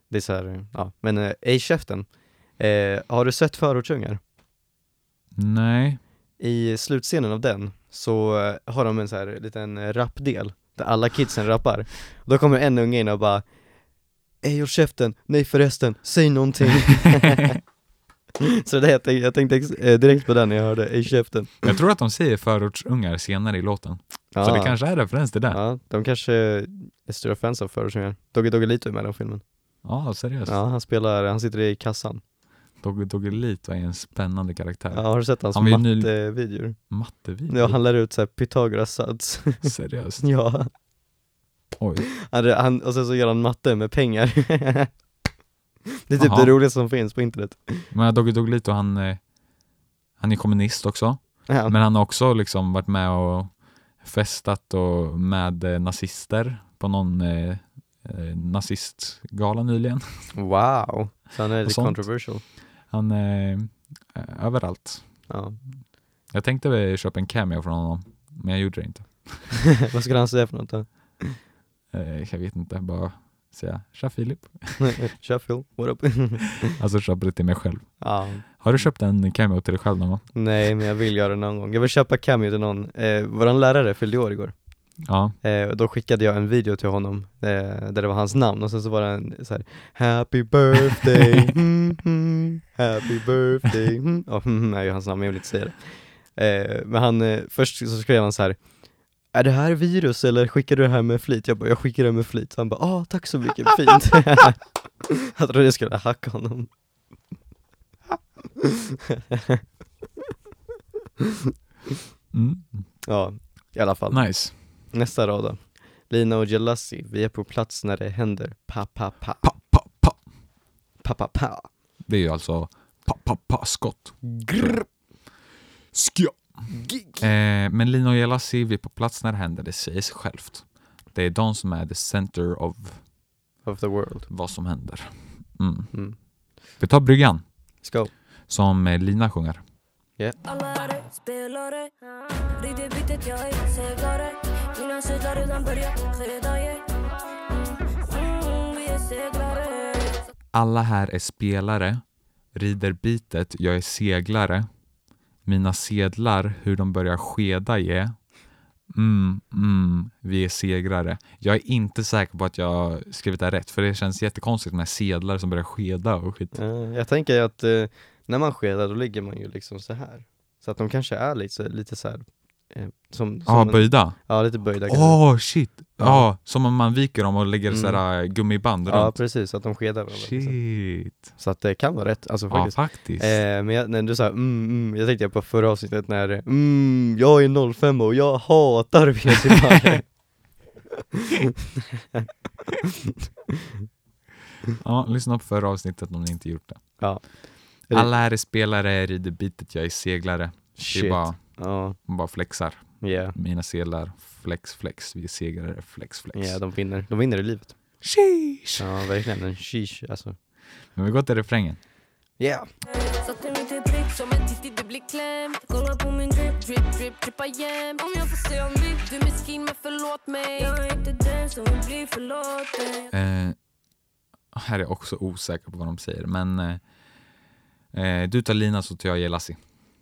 Speaker 1: Det är så här, ja. Men eh, ej käften. Eh, har du sett Förortsungar?
Speaker 2: Nej.
Speaker 1: I slutscenen av den så eh, har de en så här liten eh, rapdel där alla kidsen rappar. Och då kommer en unge in och bara Ey håll käften, nej förresten, säg någonting. så det, jag, tänkte, jag tänkte ex- eh, direkt på den när jag hörde Ey käften.
Speaker 2: jag tror att de säger förortsungar senare i låten,
Speaker 1: Ah.
Speaker 2: så det kanske är referens till det. Ja,
Speaker 1: Ja, de kanske är stora fans av Förortsungar. Dogge Doggelito är med i den filmen.
Speaker 2: seriöst.
Speaker 1: Ja, han spelar, han sitter i kassan.
Speaker 2: Dogge Dogge Lito är en spännande karaktär.
Speaker 1: Ja, har du sett hans
Speaker 2: Han var ju ny-
Speaker 1: mattevideor?
Speaker 2: Mattevideo?
Speaker 1: Ja, han lär ut så här Pythagoras sats.
Speaker 2: Seriöst?
Speaker 1: ja.
Speaker 2: Oj.
Speaker 1: Han, han, och sen så gör han matte med pengar. det är typ
Speaker 2: Jaha.
Speaker 1: det roligaste som finns på internet.
Speaker 2: Men Dogge Doggelito, han, eh, han är kommunist också.
Speaker 1: Ja.
Speaker 2: Men han har också liksom varit med och festat och med eh, nazister på någon eh, eh, nazistgala nyligen.
Speaker 1: Wow. Så han är lite
Speaker 2: sånt.
Speaker 1: controversial.
Speaker 2: Han är eh, överallt.
Speaker 1: Ja.
Speaker 2: Jag tänkte väl köpa en cameo från honom, men jag gjorde det inte.
Speaker 1: Vad skulle han säga för något då?
Speaker 2: Eh, jag vet inte, bara säga tja Filip.
Speaker 1: Tja Phil, what up?
Speaker 2: Alltså köpa det till mig själv.
Speaker 1: ja.
Speaker 2: Har du köpt en cameo till dig själv någon gång?
Speaker 1: Nej men jag vill göra det någon gång. Jag vill köpa cameo till någon. Eh, våran lärare fyllde år igår.
Speaker 2: Ja.
Speaker 1: Eh, och då skickade jag en video till honom eh, där det var hans namn och sen så var det en så här Happy birthday, mm, mm, happy birthday, mm. Ja, mm, är ju hans namn, men jag vill inte säga det. Eh, men han, eh, först så skrev han så här är det här virus eller skickar du det här med flit? Jag bara, jag skickar det med flit. Han bara, ah tack så mycket, fint. jag trodde jag skulle hacka honom.
Speaker 2: Mm.
Speaker 1: Ja, i alla fall.
Speaker 2: Nice.
Speaker 1: Nästa rad då. Lina och Gelassi, vi är på plats när det händer. Pa, pa, pa,
Speaker 2: Pa, pa, pa.
Speaker 1: pa, pa, pa.
Speaker 2: Det är ju alltså pa, pa, pa, skott. Grr. Skja. Eh, men Lino och Jelassi, vi är på plats när det händer, det säger sig självt. Det är de som är the center of
Speaker 1: Of the world.
Speaker 2: vad som händer. Mm.
Speaker 1: Mm.
Speaker 2: Vi tar bryggan,
Speaker 1: Let's go.
Speaker 2: som eh, Lina sjunger.
Speaker 5: Alla är spelare Rider bytet, jag är segare Mina suddar redan börjat skeda yeah. mm, mm, Vi är seglare
Speaker 2: Alla här är spelare, rider bitet, jag är seglare. Mina sedlar, hur de börjar skeda ge. Mm, mm, vi är segrare. Jag är inte säker på att jag skrivit det här rätt, för det känns jättekonstigt med sedlar som börjar skeda och skit.
Speaker 1: Eh, jag tänker att eh, när man skedar då ligger man ju liksom så här. Så att de kanske är lite, lite så här. eh, som, som
Speaker 2: Ja,
Speaker 1: en-
Speaker 2: böjda.
Speaker 1: ja, lite böjda kanske.
Speaker 2: Åh shit!
Speaker 1: Ja.
Speaker 2: Ja, som om man viker dem och lägger
Speaker 1: Mm.
Speaker 2: sådär eh, gummiband
Speaker 1: Ja,
Speaker 2: runt.
Speaker 1: precis. Så att de skedar varandra. Liksom.
Speaker 2: Shit!
Speaker 1: Så att det kan vara rätt, alltså
Speaker 2: Ja,
Speaker 1: faktiskt.
Speaker 2: faktiskt.
Speaker 1: Eh, men jag, när du sa mm, mm, jag tänkte på förra avsnittet när eh, mm, jag är 05 och jag hatar Vesibare.
Speaker 2: Ja, lyssna på förra avsnittet om ni inte gjort det.
Speaker 1: Ja.
Speaker 2: Alla här är spelare, rider bitet, jag är seglare. Det är bara,
Speaker 1: Ja,
Speaker 2: bara flexar.
Speaker 1: yeah.
Speaker 2: Mina sedlar, flex, flex. Vi är segrare, flex, flex.
Speaker 1: yeah, de vinner. De vinner i livet.
Speaker 2: Sheesh.
Speaker 1: Ja, verkligen. En sheesh, alltså.
Speaker 2: Men vi går till refrängen.
Speaker 1: Yeah!
Speaker 5: Satte mitt i prick
Speaker 4: Som en titt i det blir klämd
Speaker 5: Kolla på min drip
Speaker 4: Drip, drip, drippa jämt
Speaker 5: Om jag får se om mitt
Speaker 4: Du är miskin men förlåt mig
Speaker 5: Jag är inte den som vill bli förlåten
Speaker 2: Eh, här är jag också osäker på vad de säger, men eh, eh, du tar Lina så tar jag Jelassi.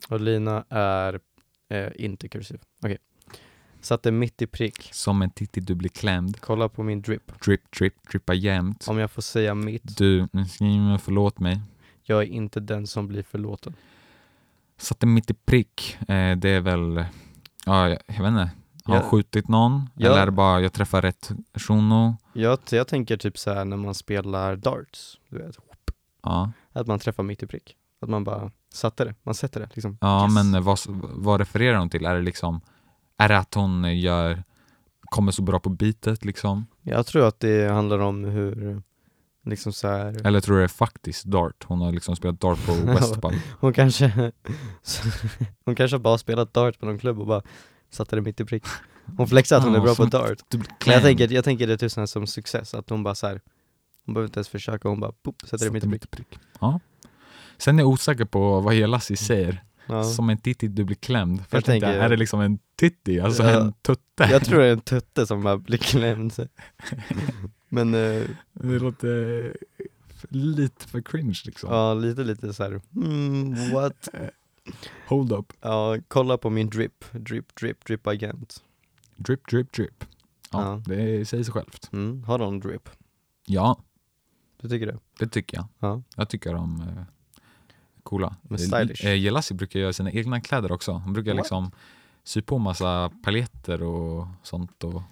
Speaker 1: Och Lina är eh, inte kursiv. Okej. Satte mitt i prick.
Speaker 2: Som en titti du blir klämd.
Speaker 1: Kolla på min drip.
Speaker 2: Drip, drip, drippa jämt.
Speaker 1: Om jag får säga mitt.
Speaker 2: Du, nu ska jag- förlåt mig.
Speaker 1: Jag är inte den som blir förlåten.
Speaker 2: Satte mitt i prick. Eh, det är väl, ja, jag, jag vet inte. Har
Speaker 1: Ja.
Speaker 2: han skjutit någon?
Speaker 1: Ja.
Speaker 2: Eller är det bara jag träffar rätt shuno?
Speaker 1: Jag, jag tänker typ så här när man spelar darts, du vet.
Speaker 2: Ja,
Speaker 1: Att man träffar mitt i prick. Att man bara satte det. Man sätter det liksom.
Speaker 2: ja
Speaker 1: Yes.
Speaker 2: men eh, vad, vad refererar hon till? Är det liksom, är det att hon gör, kommer så bra på bitet liksom?
Speaker 1: Jag tror att det handlar om hur, liksom så här.
Speaker 2: Eller tror du det är faktiskt dart? Hon har liksom spelat dart på Westpub.
Speaker 1: Hon kanske, hon kanske bara har spelat dart på någon klubb och bara satte det mitt i prick. Hon flexar att hon är
Speaker 2: Ja,
Speaker 1: bra på
Speaker 2: som-
Speaker 1: dart.
Speaker 2: Du blir
Speaker 1: Men jag
Speaker 2: klämd.
Speaker 1: tänker, jag tänker det är tusen som success, att hon bara så här. hon behöver inte ens försöka, hon bara pop, sätter det mitt i prick. Mm.
Speaker 2: Ja. Sen är jag osäker på vad Jelassi säger.
Speaker 1: Ja.
Speaker 2: Som en titti du blir klämd. Först jag tänkte jag,
Speaker 1: tänker-
Speaker 2: är det liksom en titti? Alltså
Speaker 1: Ja.
Speaker 2: en tutte?
Speaker 1: Jag tror det är en tutte som bara blir klämd. Men eh,
Speaker 2: Det låter f- lite för cringe liksom.
Speaker 1: ja, lite lite så här. Mm, what?
Speaker 2: Hold up.
Speaker 1: Ja, kolla på min drip, drip, drip, drip agent.
Speaker 2: Drip, drip, drip. Ja,
Speaker 1: Ja.
Speaker 2: det säger sig självt.
Speaker 1: Mm, har någon drip?
Speaker 2: Ja,
Speaker 1: Du tycker det?
Speaker 2: det tycker jag.
Speaker 1: Ja.
Speaker 2: Jag tycker de är coola.
Speaker 1: Men stylish.
Speaker 2: Eh, Jelassi brukar göra sina egna kläder också. Hon brukar
Speaker 1: What?
Speaker 2: liksom sy på massa paletter och sånt. Och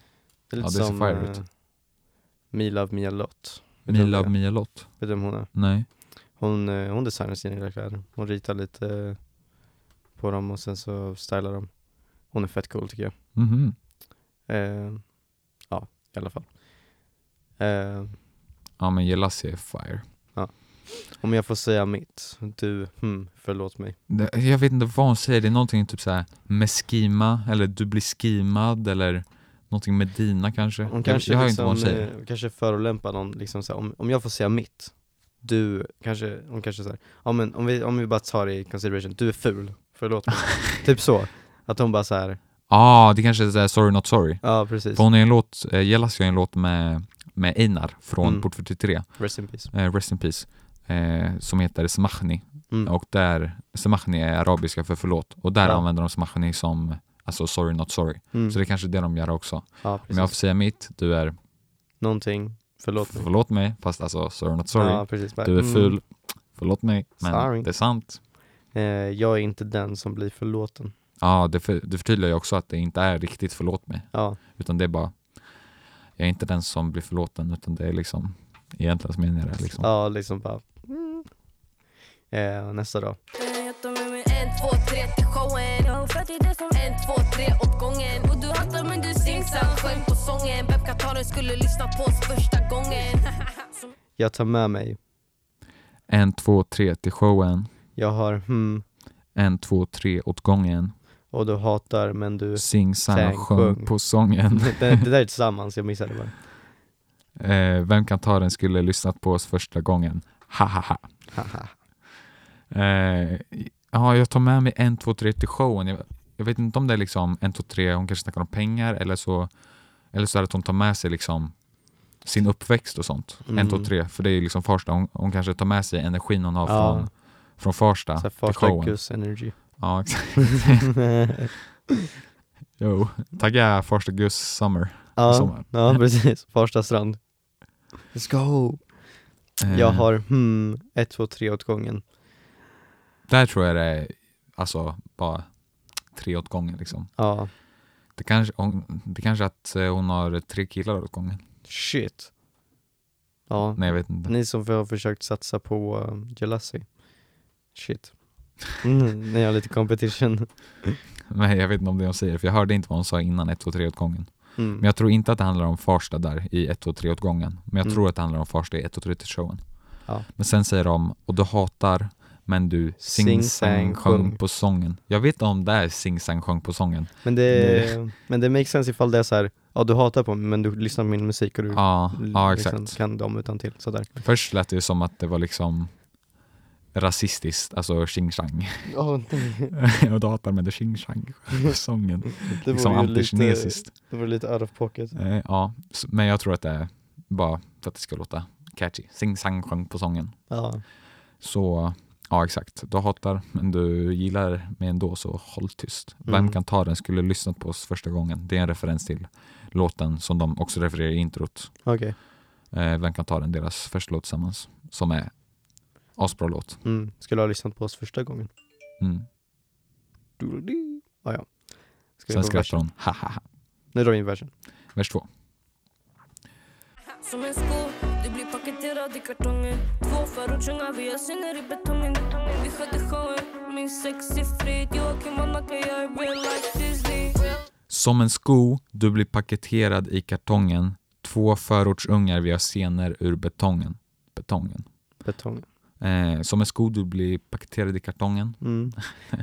Speaker 1: Det är
Speaker 2: Ja,
Speaker 1: lite
Speaker 2: det ser
Speaker 1: som
Speaker 2: fire ut.
Speaker 1: eh, Me Love Mia Lott. Vet du
Speaker 2: Me
Speaker 1: vem det
Speaker 2: Love
Speaker 1: är?
Speaker 2: Mia Lott.
Speaker 1: Vet du vem hon är?
Speaker 2: Nej.
Speaker 1: Hon, eh, hon designar sina egna kläder. Hon ritar lite eh, på dem och sen så stylar de. Hon är fett cool tycker jag.
Speaker 2: Mhm.
Speaker 1: Eh, ja, i alla fall. Eh,
Speaker 2: Ja men Jelassi är fire.
Speaker 1: om jag får säga mitt, du, hmm, förlåt mig.
Speaker 2: Det- Jag vet inte vad hon säger, det är någonting typ såhär meskima eller du blir skimad eller någonting med dina kanske.
Speaker 1: Hon
Speaker 2: Jag-
Speaker 1: kanske,
Speaker 2: jag hör inte vad
Speaker 1: liksom,
Speaker 2: hon säger.
Speaker 1: eh, kanske förolämpar någon, liksom så här, om, om jag får säga mitt, du, kanske, hon kanske säger, ja men om vi, om vi bara tar det i consideration, du är ful, förlåt mig. typ så. Att hon bara så här,
Speaker 2: Ja, ah, det kanske är såhär sorry not sorry.
Speaker 1: ja precis,
Speaker 2: För hon har ju en låt, eh, Jelas gör en låt med, med Einar från
Speaker 1: Mm.
Speaker 2: Port 43,
Speaker 1: rest in peace.
Speaker 2: eh, Rest in Peace, eh, som heter Smachni.
Speaker 1: Mm.
Speaker 2: Och där, Smachni är arabiska för förlåt. Och där
Speaker 1: Ja.
Speaker 2: använder de Smachni som, alltså sorry not sorry.
Speaker 1: Mm.
Speaker 2: Så det är kanske är det de gör också.
Speaker 1: ja,
Speaker 2: Om
Speaker 1: precis.
Speaker 2: jag får säga mitt, du är
Speaker 1: Någonting, förlåt mig.
Speaker 2: förlåt mig, fast alltså sorry not sorry.
Speaker 1: Ja, precis. Bara,
Speaker 2: Du är
Speaker 1: mm,
Speaker 2: ful. Förlåt mig, men
Speaker 1: Sorry.
Speaker 2: det är sant.
Speaker 1: Eh, jag är inte den som blir förlåten.
Speaker 2: Ja, det, för, det förtydligar ju också att det inte är riktigt förlåt mig,
Speaker 1: Ja,
Speaker 2: utan det är bara jag är inte den som blir förlåten, utan det är liksom egentligen menar jag det liksom.
Speaker 1: ja liksom bara. Mm. Eh, nästa då.
Speaker 5: Eh, Jag tar med mig
Speaker 4: En, två, tre till showen
Speaker 5: Jag har fett i det som är
Speaker 4: En, två, tre åt gången Och du hattar men du singsang Sjöng på sången Vem Kataren skulle lyssna på oss första gången
Speaker 1: Jag tar med mig.
Speaker 2: En, två, tre till showen.
Speaker 1: Jag har hmm
Speaker 2: En, två, tre åt gången.
Speaker 1: och du hatar men du.
Speaker 2: Sing, sang,
Speaker 1: Säng,
Speaker 2: sjöng
Speaker 1: sjung.
Speaker 2: på sången.
Speaker 1: det, det där är tillsammans, jag missade bara.
Speaker 2: Eh, vem kan ta den skulle lyssnat på oss första gången? Ha, ha, ha.
Speaker 1: Haha.
Speaker 2: Eh, ja, jag tar med mig en, två, tre till showen. Jag, jag vet inte om det är liksom en, två, tre, hon kanske snackar om pengar eller så, eller så är det att hon tar med sig liksom sin uppväxt och sånt. En, två,
Speaker 1: Mm.
Speaker 2: tre, för det är ju liksom Farsta. Hon, hon kanske tar med sig energin hon har
Speaker 1: Ja.
Speaker 2: från, från Farsta
Speaker 1: Såhär
Speaker 2: till
Speaker 1: Farsta
Speaker 2: showen.
Speaker 1: Gus energy.
Speaker 2: Ja, exakt. Jo, tagga Farsta Gus Summer.
Speaker 1: ja,
Speaker 2: Sommar.
Speaker 1: ja, precis. Farsta strand. Let's go.
Speaker 2: Eh,
Speaker 1: Jag har hmm, ett, två, tre åt gången.
Speaker 2: Där tror jag det är alltså bara tre åt gången liksom.
Speaker 1: Ja,
Speaker 2: Det kanske, hon, det kanske att eh, hon har tre killar åt gången.
Speaker 1: shit. Ja,
Speaker 2: Nej, jag vet inte.
Speaker 1: Ni som har försökt satsa på um, Jelassi. Shit. Mm, ni har lite competition.
Speaker 2: Nej, jag vet inte om det hon säger, för jag hörde inte vad hon sa innan 1, 2, 3-åtgången.
Speaker 1: Mm.
Speaker 2: Men jag tror inte att det handlar om Farsta där i 1, 2, 3-åtgången. Men jag
Speaker 1: Mm.
Speaker 2: tror att det handlar om Farsta i 1, 2, 3 till showen.
Speaker 1: Ja.
Speaker 2: Men sen säger de, och du hatar, Men du,
Speaker 1: Sing,
Speaker 2: sing sang
Speaker 1: sang,
Speaker 2: sjöng
Speaker 1: sjung.
Speaker 2: på sången. Jag vet om det är sing sang sjöng på sången.
Speaker 1: Men det, men det makes sense ifall det är så här, ja du hatar på mig men du lyssnar på min musik och du
Speaker 2: Ja, ja
Speaker 1: Mm. liksom
Speaker 2: exakt.
Speaker 1: kan dem utan till sådär.
Speaker 2: Först lät det ju som att det var liksom rasistiskt, alltså sing sang.
Speaker 1: Ja,
Speaker 2: Jag hatar med det sing sang på sången.
Speaker 1: det
Speaker 2: Liksom
Speaker 1: vore ju lite,
Speaker 2: antikinesiskt.
Speaker 1: det vore lite out of pocket.
Speaker 2: Eh, ja, s- men jag tror att det är bara för att det ska låta catchy. Sing sang sjöng på sången.
Speaker 1: Ja.
Speaker 2: Så ja, exakt. Du hatar, men du gillar mig ändå, så håll tyst. Vem
Speaker 1: Mm.
Speaker 2: kan ta den? Skulle lyssnat på oss första gången. Det är en referens till låten som de också refererar i introt.
Speaker 1: Okej,
Speaker 2: Eh, Vem kan ta den? Deras första låt tillsammans, som är asbra låt.
Speaker 1: mm. skulle ha lyssnat på oss första gången.
Speaker 2: Mm.
Speaker 1: Ah, ja. Ska vi
Speaker 2: Sen
Speaker 1: på versen?
Speaker 2: skrattar hon, ha ha ha.
Speaker 1: Nu drar vi in versen.
Speaker 2: Vers två.
Speaker 5: Som en sko, du blir paketerad i kartongen Två förortsungar, vi har syner i betongen Vi sköter showen, min sexsiffrig Joakim och Nacka, jag är real life Disney
Speaker 2: Som en sko, du blir paketerad i kartongen. Två förortsungar, vi har scener ur betongen. Betongen.
Speaker 1: Betong.
Speaker 2: Eh, som en sko, du blir paketerad i kartongen.
Speaker 1: Mm.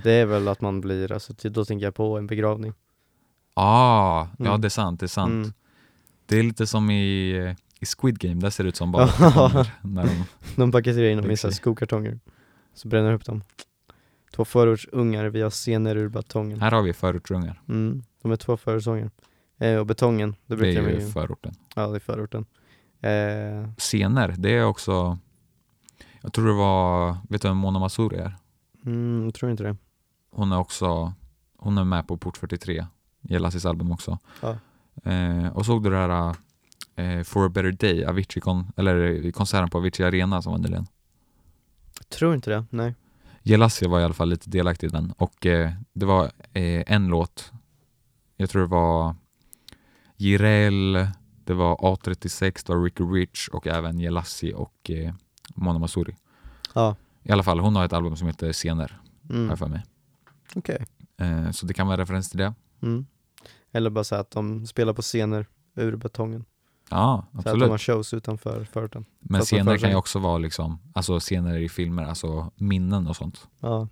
Speaker 1: Det är väl att man blir, alltså ty- då tänker jag på en begravning.
Speaker 2: Ah, ja
Speaker 1: Mm.
Speaker 2: det är sant, det är sant.
Speaker 1: Mm.
Speaker 2: Det är lite som i, eh, i Squid Game, där ser det ut som bara kartonger. när de,
Speaker 1: De paketerar in dem i så här
Speaker 2: Lyxigt.
Speaker 1: skokartonger. Så bränner upp dem. Två förortsungar via scener ur betongen.
Speaker 2: Här har vi förortsungar,
Speaker 1: Mm. De är två förortsungar. Eh, och betongen, det
Speaker 2: det
Speaker 1: brukar
Speaker 2: är
Speaker 1: man
Speaker 2: ju
Speaker 1: ju,
Speaker 2: förorten.
Speaker 1: ja det är förorten. Eh,
Speaker 2: Scener, det är också, jag tror det var, vet du vem Mona Mazur är?
Speaker 1: mm, jag tror inte det.
Speaker 2: Hon är också, hon är med på Port 43 i Lassis album också.
Speaker 1: Ja.
Speaker 2: Eh, och såg du det här eh, For a better day, Avicii kon, eller eh, konserten på Avicii Arena som var nyligen?
Speaker 1: Jag tror inte det, nej.
Speaker 2: Jelassi var i alla fall lite delaktig i den och eh, det var eh, en låt, jag tror det var Jireel, det var A36, det var Ricky Rich och även Jelassi och eh, Mona Masuri.
Speaker 1: Ja.
Speaker 2: I alla fall, hon har ett album som heter Scener, har
Speaker 1: Mm.
Speaker 2: jag för mig.
Speaker 1: Okej.
Speaker 2: Eh, så det kan vara en referens till det.
Speaker 1: Mm. Eller bara säga att de spelar på scener ur betongen.
Speaker 2: Ja,
Speaker 1: Så att de har
Speaker 2: absolut.
Speaker 1: shows utanför förorten. satt
Speaker 2: Men
Speaker 1: de
Speaker 2: scener
Speaker 1: Alltså, för sig.
Speaker 2: kan ju också vara liksom, alltså scener i filmer, alltså minnen och sånt.
Speaker 1: Ja.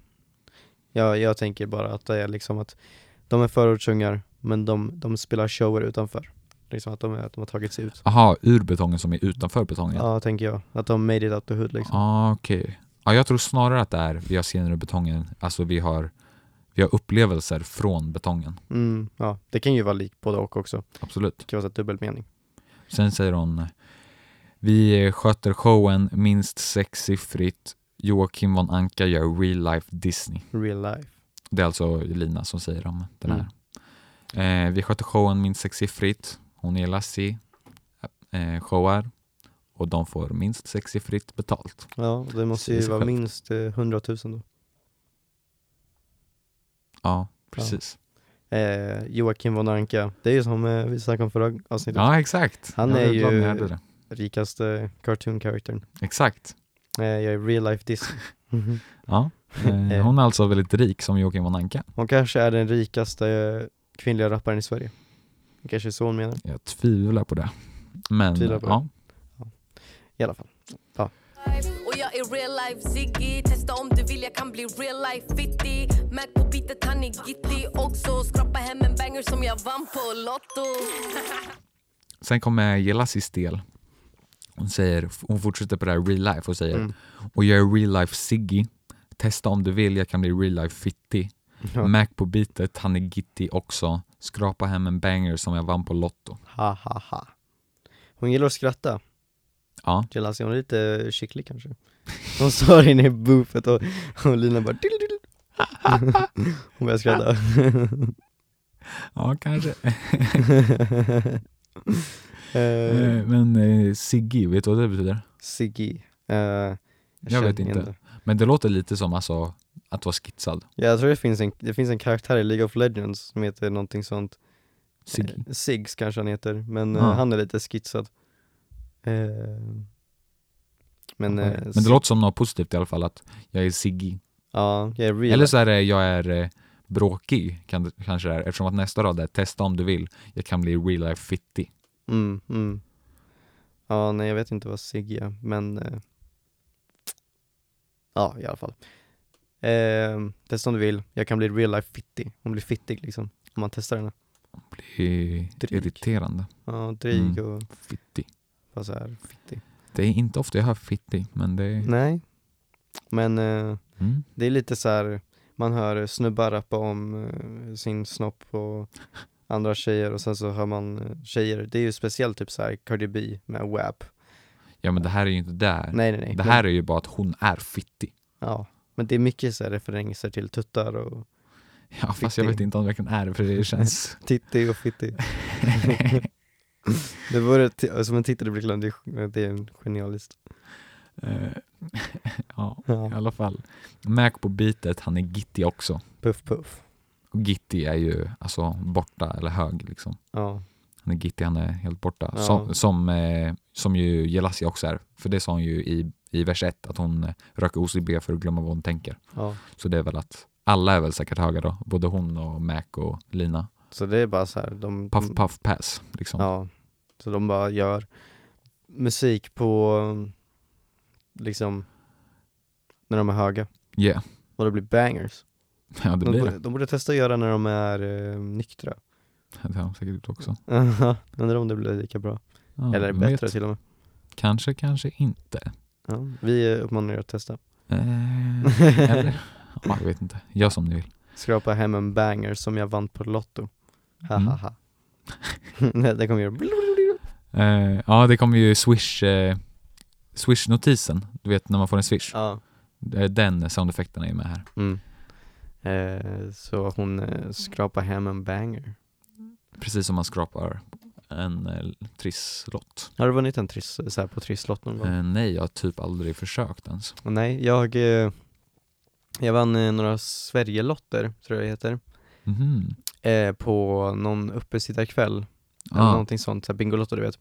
Speaker 1: ja, jag tänker bara att det är liksom att de är förortsungar men de, de spelar shower utanför. Liksom att de, är, att de har tagit sig ut.
Speaker 2: Aha, ur betongen som är utanför betongen.
Speaker 1: Ja, tänker jag. Att de made it out the hood liksom.
Speaker 2: Ah, okej. Ja, jag tror snarare att det är vi har scener ur betongen, alltså vi har, vi har upplevelser från betongen.
Speaker 1: Mm, ja, det kan ju vara likt både och också.
Speaker 2: Absolut.
Speaker 1: Det kan vara så här dubbelmening.
Speaker 2: Sen säger hon Vi sköter showen minst sexsiffrigt Joakim von Anka gör real life Disney.
Speaker 1: Real life.
Speaker 2: Det är alltså Lina som säger om den här.
Speaker 1: Mm.
Speaker 2: Eh, vi sköter showen minst sexsiffrigt. Hon är Lassie, eh, showar och de får minst sexsiffrigt betalt.
Speaker 1: Ja, det måste ju
Speaker 2: Precis,
Speaker 1: vara
Speaker 2: själv.
Speaker 1: minst eh, 100 000 då.
Speaker 2: Ja, precis.
Speaker 1: Eh, Joakim von Anka, det är ju som eh, vi snackade om förra avsnittet.
Speaker 2: Ja, exakt.
Speaker 1: Han
Speaker 2: Jag
Speaker 1: är
Speaker 2: blev glad när jag
Speaker 1: ju-
Speaker 2: hörde det.
Speaker 1: Rikaste cartoon charactern.
Speaker 2: Exakt.
Speaker 1: Eh, jag är real life Disney.
Speaker 2: Ja, eh,
Speaker 1: Eh.
Speaker 2: hon är alltså väldigt rik som Joakim von Anka.
Speaker 1: Hon kanske är den rikaste eh, kvinnliga rapparen i Sverige. Det kanske är så hon menar.
Speaker 2: Jag tvivlar på det. Men
Speaker 1: Tvivlar på
Speaker 2: ja,
Speaker 1: I alla fall.
Speaker 4: Och jag är real life Ziggy Testa om du vill, jag kan bli real life fitty Mac på beatet, han är gitty också Skrapa hem en banger som jag vann på Lotto
Speaker 2: sen kommer Jelassis del. Hon, säger, hon fortsätter på det här real life och säger
Speaker 1: Mm.
Speaker 2: och jag är real life Siggy. Testa om du vill, jag kan bli real life fitty.
Speaker 1: Ja.
Speaker 2: Mac på beatet, han är gitty också. Skrapa hem en banger som jag vann på Lotto.
Speaker 1: Ha ha ha. Hon gillar att skratta,
Speaker 2: Ja,
Speaker 1: Jelassi. Hon är lite kycklig kanske. Hon står inne i buffet och, och Lina bara dill, dill. Hon börjar skratta.
Speaker 2: ja kanske.
Speaker 1: eh,
Speaker 2: Eh, Men eh, Siggy, vet du vad det betyder?
Speaker 1: Siggy. Eh, jag
Speaker 2: Jag
Speaker 1: känner
Speaker 2: vet inte. Men det låter lite som alltså, att vara skitsad.
Speaker 1: Ja, jag tror det finns, en, det finns en karaktär i League of Legends som heter någonting sånt
Speaker 2: Siggy.
Speaker 1: Eh, Siggs kanske han heter, men eh,
Speaker 2: Ja.
Speaker 1: han är lite skitsad. Eh, men,
Speaker 2: Okej.
Speaker 1: eh,
Speaker 2: men
Speaker 1: Sig-
Speaker 2: det låter som något positivt i alla fall att jag är Siggy.
Speaker 1: Ja, jag är real.
Speaker 2: Eller så är det jag är eh, bråkig kan, det- kanske det är eftersom att nästa rad är testa om du vill. Jag kan bli real life fitty.
Speaker 1: Mm, mm. Ja, nej jag vet inte vad Sigg är, men eh, Ja, i alla fall. Ehm, testa om du vill, jag kan bli real life fittig. Hon blir fittig liksom, om man testar henne.
Speaker 2: Blir
Speaker 1: Dryg.
Speaker 2: irriterande.
Speaker 1: Ja, dryg
Speaker 2: Mm.
Speaker 1: och
Speaker 2: Fittig.
Speaker 1: bara så här fittig.
Speaker 2: Det är inte ofta jag hör fittig, men det är...
Speaker 1: Nej. Men eh,
Speaker 2: Mm.
Speaker 1: det är lite så här man hör snubbar rappa om eh, sin snopp och andra tjejer och sen så hör man eh, tjejer, det är ju speciellt typ så här Cardi B med WAP.
Speaker 2: Ja, men det här är ju inte där.
Speaker 1: Nej nej nej.
Speaker 2: Mm. Det här är ju bara att hon är fittig.
Speaker 1: Ja, men det är mycket så här referenser till tuttar och
Speaker 2: Ja, fast jag
Speaker 1: Fittig.
Speaker 2: vet inte om det verkligen är det, för det känns...
Speaker 1: titti och fitti. det vore t- som en titelrubrik, det, är- det är en genialist.
Speaker 2: Eh, ja, i
Speaker 1: Ja.
Speaker 2: alla fall. Mac på bitet, han är gittig också.
Speaker 1: Puff puff.
Speaker 2: Och gittig är ju alltså borta eller hög liksom.
Speaker 1: Ja,
Speaker 2: Han är gittig, han är helt borta.
Speaker 1: Ja.
Speaker 2: Som, som, eh, som ju Jelassi också är. För det sa hon ju i, i vers 1, att hon eh, röker OCB för att glömma vad hon tänker.
Speaker 1: ja.
Speaker 2: Så det är väl att alla är väl säkert höga då. Både hon och Mac och Lina.
Speaker 1: Så det är bara så här, de...
Speaker 2: Puff puff pass liksom.
Speaker 1: Mm. Ja, så de bara gör musik på um, liksom när de är höga
Speaker 2: Yeah.
Speaker 1: och det blir bangers.
Speaker 2: Ja, det
Speaker 1: De
Speaker 2: blir det.
Speaker 1: borde, de borde testa att göra när de är eh, nyktra.
Speaker 2: Det har de säkert gjort också.
Speaker 1: Undrar om det blir lika bra.
Speaker 2: Ja,
Speaker 1: Eller
Speaker 2: vem
Speaker 1: bättre
Speaker 2: vet?
Speaker 1: till och med.
Speaker 2: Kanske, kanske inte.
Speaker 1: Ja, vi eh, uppmanar er att testa.
Speaker 2: Eh, eller? Ja, jag vet inte. Gör som ni vill.
Speaker 1: Skrapa hem en banger som jag vann på Lotto. Hahaha.
Speaker 2: Mm.
Speaker 1: Nej, det kommer göra
Speaker 2: Eh, ja, det kommer ju swish... Eh, Swish-notisen, du vet när man får en swish.
Speaker 1: Ja.
Speaker 2: Eh, Den soundeffekten är ju med här.
Speaker 1: Mm. Eh, så hon eh, skrapar hem en banger.
Speaker 2: Precis som man skrapar en eh, trisslott.
Speaker 1: Har du vunnit en triss, så här på trisslott någon gång?
Speaker 2: Eh, nej, jag har typ aldrig försökt ens.
Speaker 1: Och Nej, jag, eh, jag vann eh, några Sverigelotter, tror jag det heter,
Speaker 2: Mhm.
Speaker 1: eh, på någon uppesittarkväll, eller
Speaker 2: Ja,
Speaker 1: någonting sånt, så här Bingolotto du vet.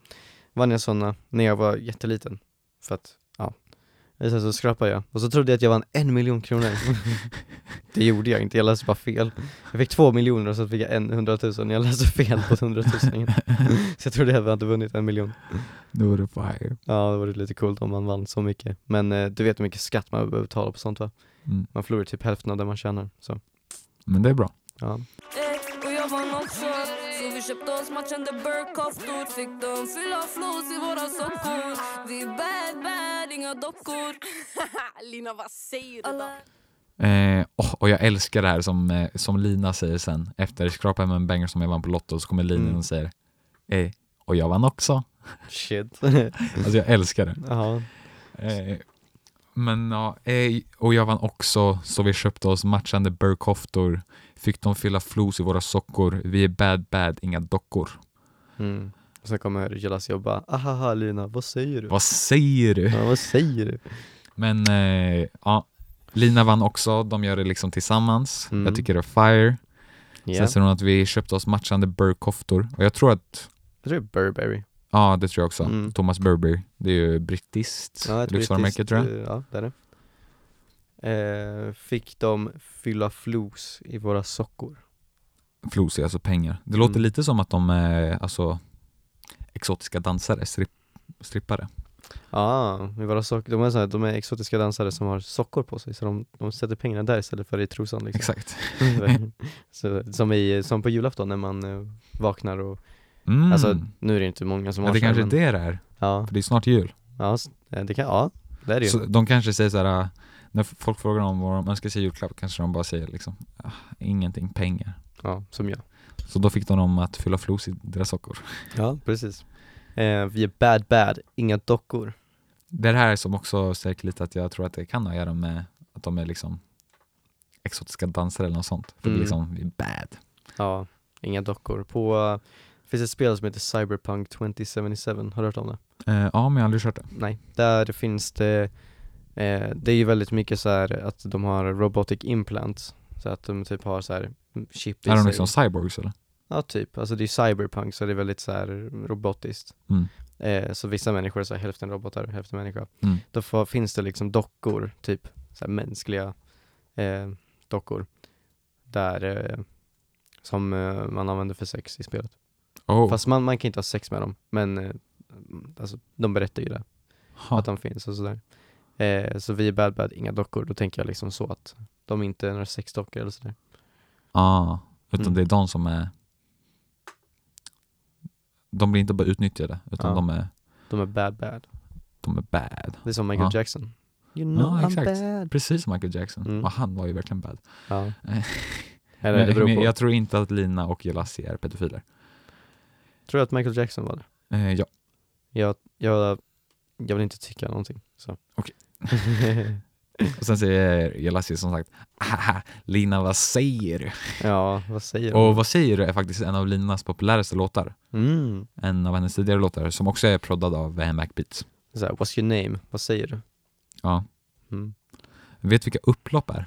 Speaker 1: Vann jag sådana när jag var jätteliten, för att, ja. Och Sen så skrapade jag, och så trodde jag att jag vann en miljon kronor. det gjorde jag inte, jag läste bara fel. Jag fick två miljoner och så fick jag en hundratusen, jag läste fel på hundratusningen. så jag trodde att jag hade vunnit en miljon.
Speaker 2: nu var det fire.
Speaker 1: Ja, det vore lite coolt om man vann så mycket. Men eh, du vet hur mycket skatt man behöver betala på sånt va?
Speaker 2: Mm.
Speaker 1: Man förlorar typ hälften av det man tjänar. Så,
Speaker 2: Men det är bra.
Speaker 1: ja.
Speaker 5: Ey, Eh, och jag vann också Så vi köpte oss matchande burkkoftor Fick dem fylla flos i våra sockor Vi är bad, bad, inga dockor
Speaker 4: Lina, vad säger du då?
Speaker 5: Alla
Speaker 2: Eh, åh, och jag älskar det här som, eh, som Lina säger sen. Efter skrapa hem en banger som jag vann på Lotto så kommer Lina
Speaker 1: Mm.
Speaker 2: och säger eh, och jag vann också.
Speaker 1: Shit.
Speaker 2: Alltså jag älskar det.
Speaker 1: ja.
Speaker 2: Eh, men ja, eh, och jag vann också så vi köpte oss matchande burkkoftor. Fick dem fylla flos i våra sockor. Vi är bad bad, inga dockor.
Speaker 1: Mm. Och sen kommer Jelassi och bara ahaha Lina, vad säger du?
Speaker 2: Vad säger du?
Speaker 1: Ja, vad säger du?
Speaker 2: Men eh, ja, Lina vann också. De gör det liksom tillsammans.
Speaker 1: Mm.
Speaker 2: Jag tycker det är fire.
Speaker 1: Ja.
Speaker 2: Sen säger hon att vi köpte oss matchande burkkoftor. Och jag tror att,
Speaker 1: Jag tror det är Burberry.
Speaker 2: ja det tror jag också.
Speaker 1: Mm.
Speaker 2: Thomas Burberry. Det är ju brittiskt
Speaker 1: Ja, ett
Speaker 2: lyxvarumärke
Speaker 1: brittiskt,
Speaker 2: tror jag.
Speaker 1: eh, Ja, det är det. Eh, fick de fylla flos i våra sockor?
Speaker 2: Flos är alltså pengar. Det låter
Speaker 1: eh, Mm.
Speaker 2: lite som att de är alltså, exotiska dansare, stripp, strippare.
Speaker 1: Ja, i våra sockor. De är, så här, de är exotiska dansare som har sockor på sig, så de, de sätter pengarna där istället för i trosan liksom.
Speaker 2: Exakt.
Speaker 1: så, som, i, som på julafton när man eh, vaknar och,
Speaker 2: Mm.
Speaker 1: alltså nu är det inte många som
Speaker 2: ja,
Speaker 1: har
Speaker 2: det
Speaker 1: så här,
Speaker 2: kanske är
Speaker 1: men-
Speaker 2: det det är,
Speaker 1: Ja,
Speaker 2: för det är snart jul.
Speaker 1: ja, s- eh, det kan, ja, det är det ju.
Speaker 2: Så de kanske säger så här, äh, när folk frågar om vad de önskar sig i julklapp kanske de bara säger liksom, "Ah, ingenting, pengar.
Speaker 1: Ja, som jag.
Speaker 2: Så då fick de dem att fylla flos i deras sockor.
Speaker 1: Ja, precis. Eh, vi är bad bad, inga dockor.
Speaker 2: Det här är som också stärker lite att jag tror att det kan ha att göra med att de är liksom exotiska dansare eller något sånt. För det
Speaker 1: Mm.
Speaker 2: är liksom, vi är bad.
Speaker 1: Ja, inga dockor. På, eh, det finns ett spel som heter Cyberpunk 2077, har du hört om det?
Speaker 2: Eh, ja, men jag har aldrig kört det.
Speaker 1: Nej, där finns det, eh, det är ju väldigt mycket så här att de har robotic implants, så att de typ har så här chip i
Speaker 2: är de
Speaker 1: sig.
Speaker 2: liksom cyborgs eller?
Speaker 1: Ja, typ. Alltså det är cyberpunk så det är väldigt så här robotiskt.
Speaker 2: Mm.
Speaker 1: Eh, så vissa människor är så här, hälften robotar, hälften människa.
Speaker 2: Mm.
Speaker 1: Då får, finns det liksom dockor, typ så här mänskliga eh, dockor, där eh, som eh, man använder för sex i spelet.
Speaker 2: Oh.
Speaker 1: Fast man, man kan inte ha sex med dem, men eh, alltså, de berättar ju det,
Speaker 2: ha.
Speaker 1: att de finns och sådär. Eh, så vi är bad bad, inga dockor. Då tänker jag liksom så att de inte är några sexdockor eller sådär.
Speaker 2: Ah, utan
Speaker 1: Mm.
Speaker 2: det är de som är... De blir inte bara utnyttjade, utan
Speaker 1: Ja.
Speaker 2: de, är,
Speaker 1: De är bad bad.
Speaker 2: de är bad.
Speaker 1: Det är som Michael
Speaker 2: Ja.
Speaker 1: Jackson. You know I'm
Speaker 2: Ja, exakt.
Speaker 1: bad.
Speaker 2: Precis som Michael Jackson.
Speaker 1: Mm.
Speaker 2: Och han var ju verkligen bad.
Speaker 1: Ja.
Speaker 2: Eh.
Speaker 1: Eller det
Speaker 2: men,
Speaker 1: beror
Speaker 2: men
Speaker 1: på.
Speaker 2: jag tror inte att Lina och Jelassi är pedofiler.
Speaker 1: Tror du att Michael Jackson var det?
Speaker 2: Eh, ja,
Speaker 1: Jag, jag, jag vill inte tycka någonting. Så.
Speaker 2: Okej. och sen säger Jelassi som sagt Haha, Lina vad säger du?
Speaker 1: ja, vad säger
Speaker 2: Och vad säger du är faktiskt en av Linas populäraste låtar.
Speaker 1: du? Mm.
Speaker 2: En av hennes tidigare låtar som också är proddad av eh, Macbeats.
Speaker 1: Så här, what's your name? Vad säger du?
Speaker 2: Ja.
Speaker 1: Mm.
Speaker 2: Vet vilka Upplopp är?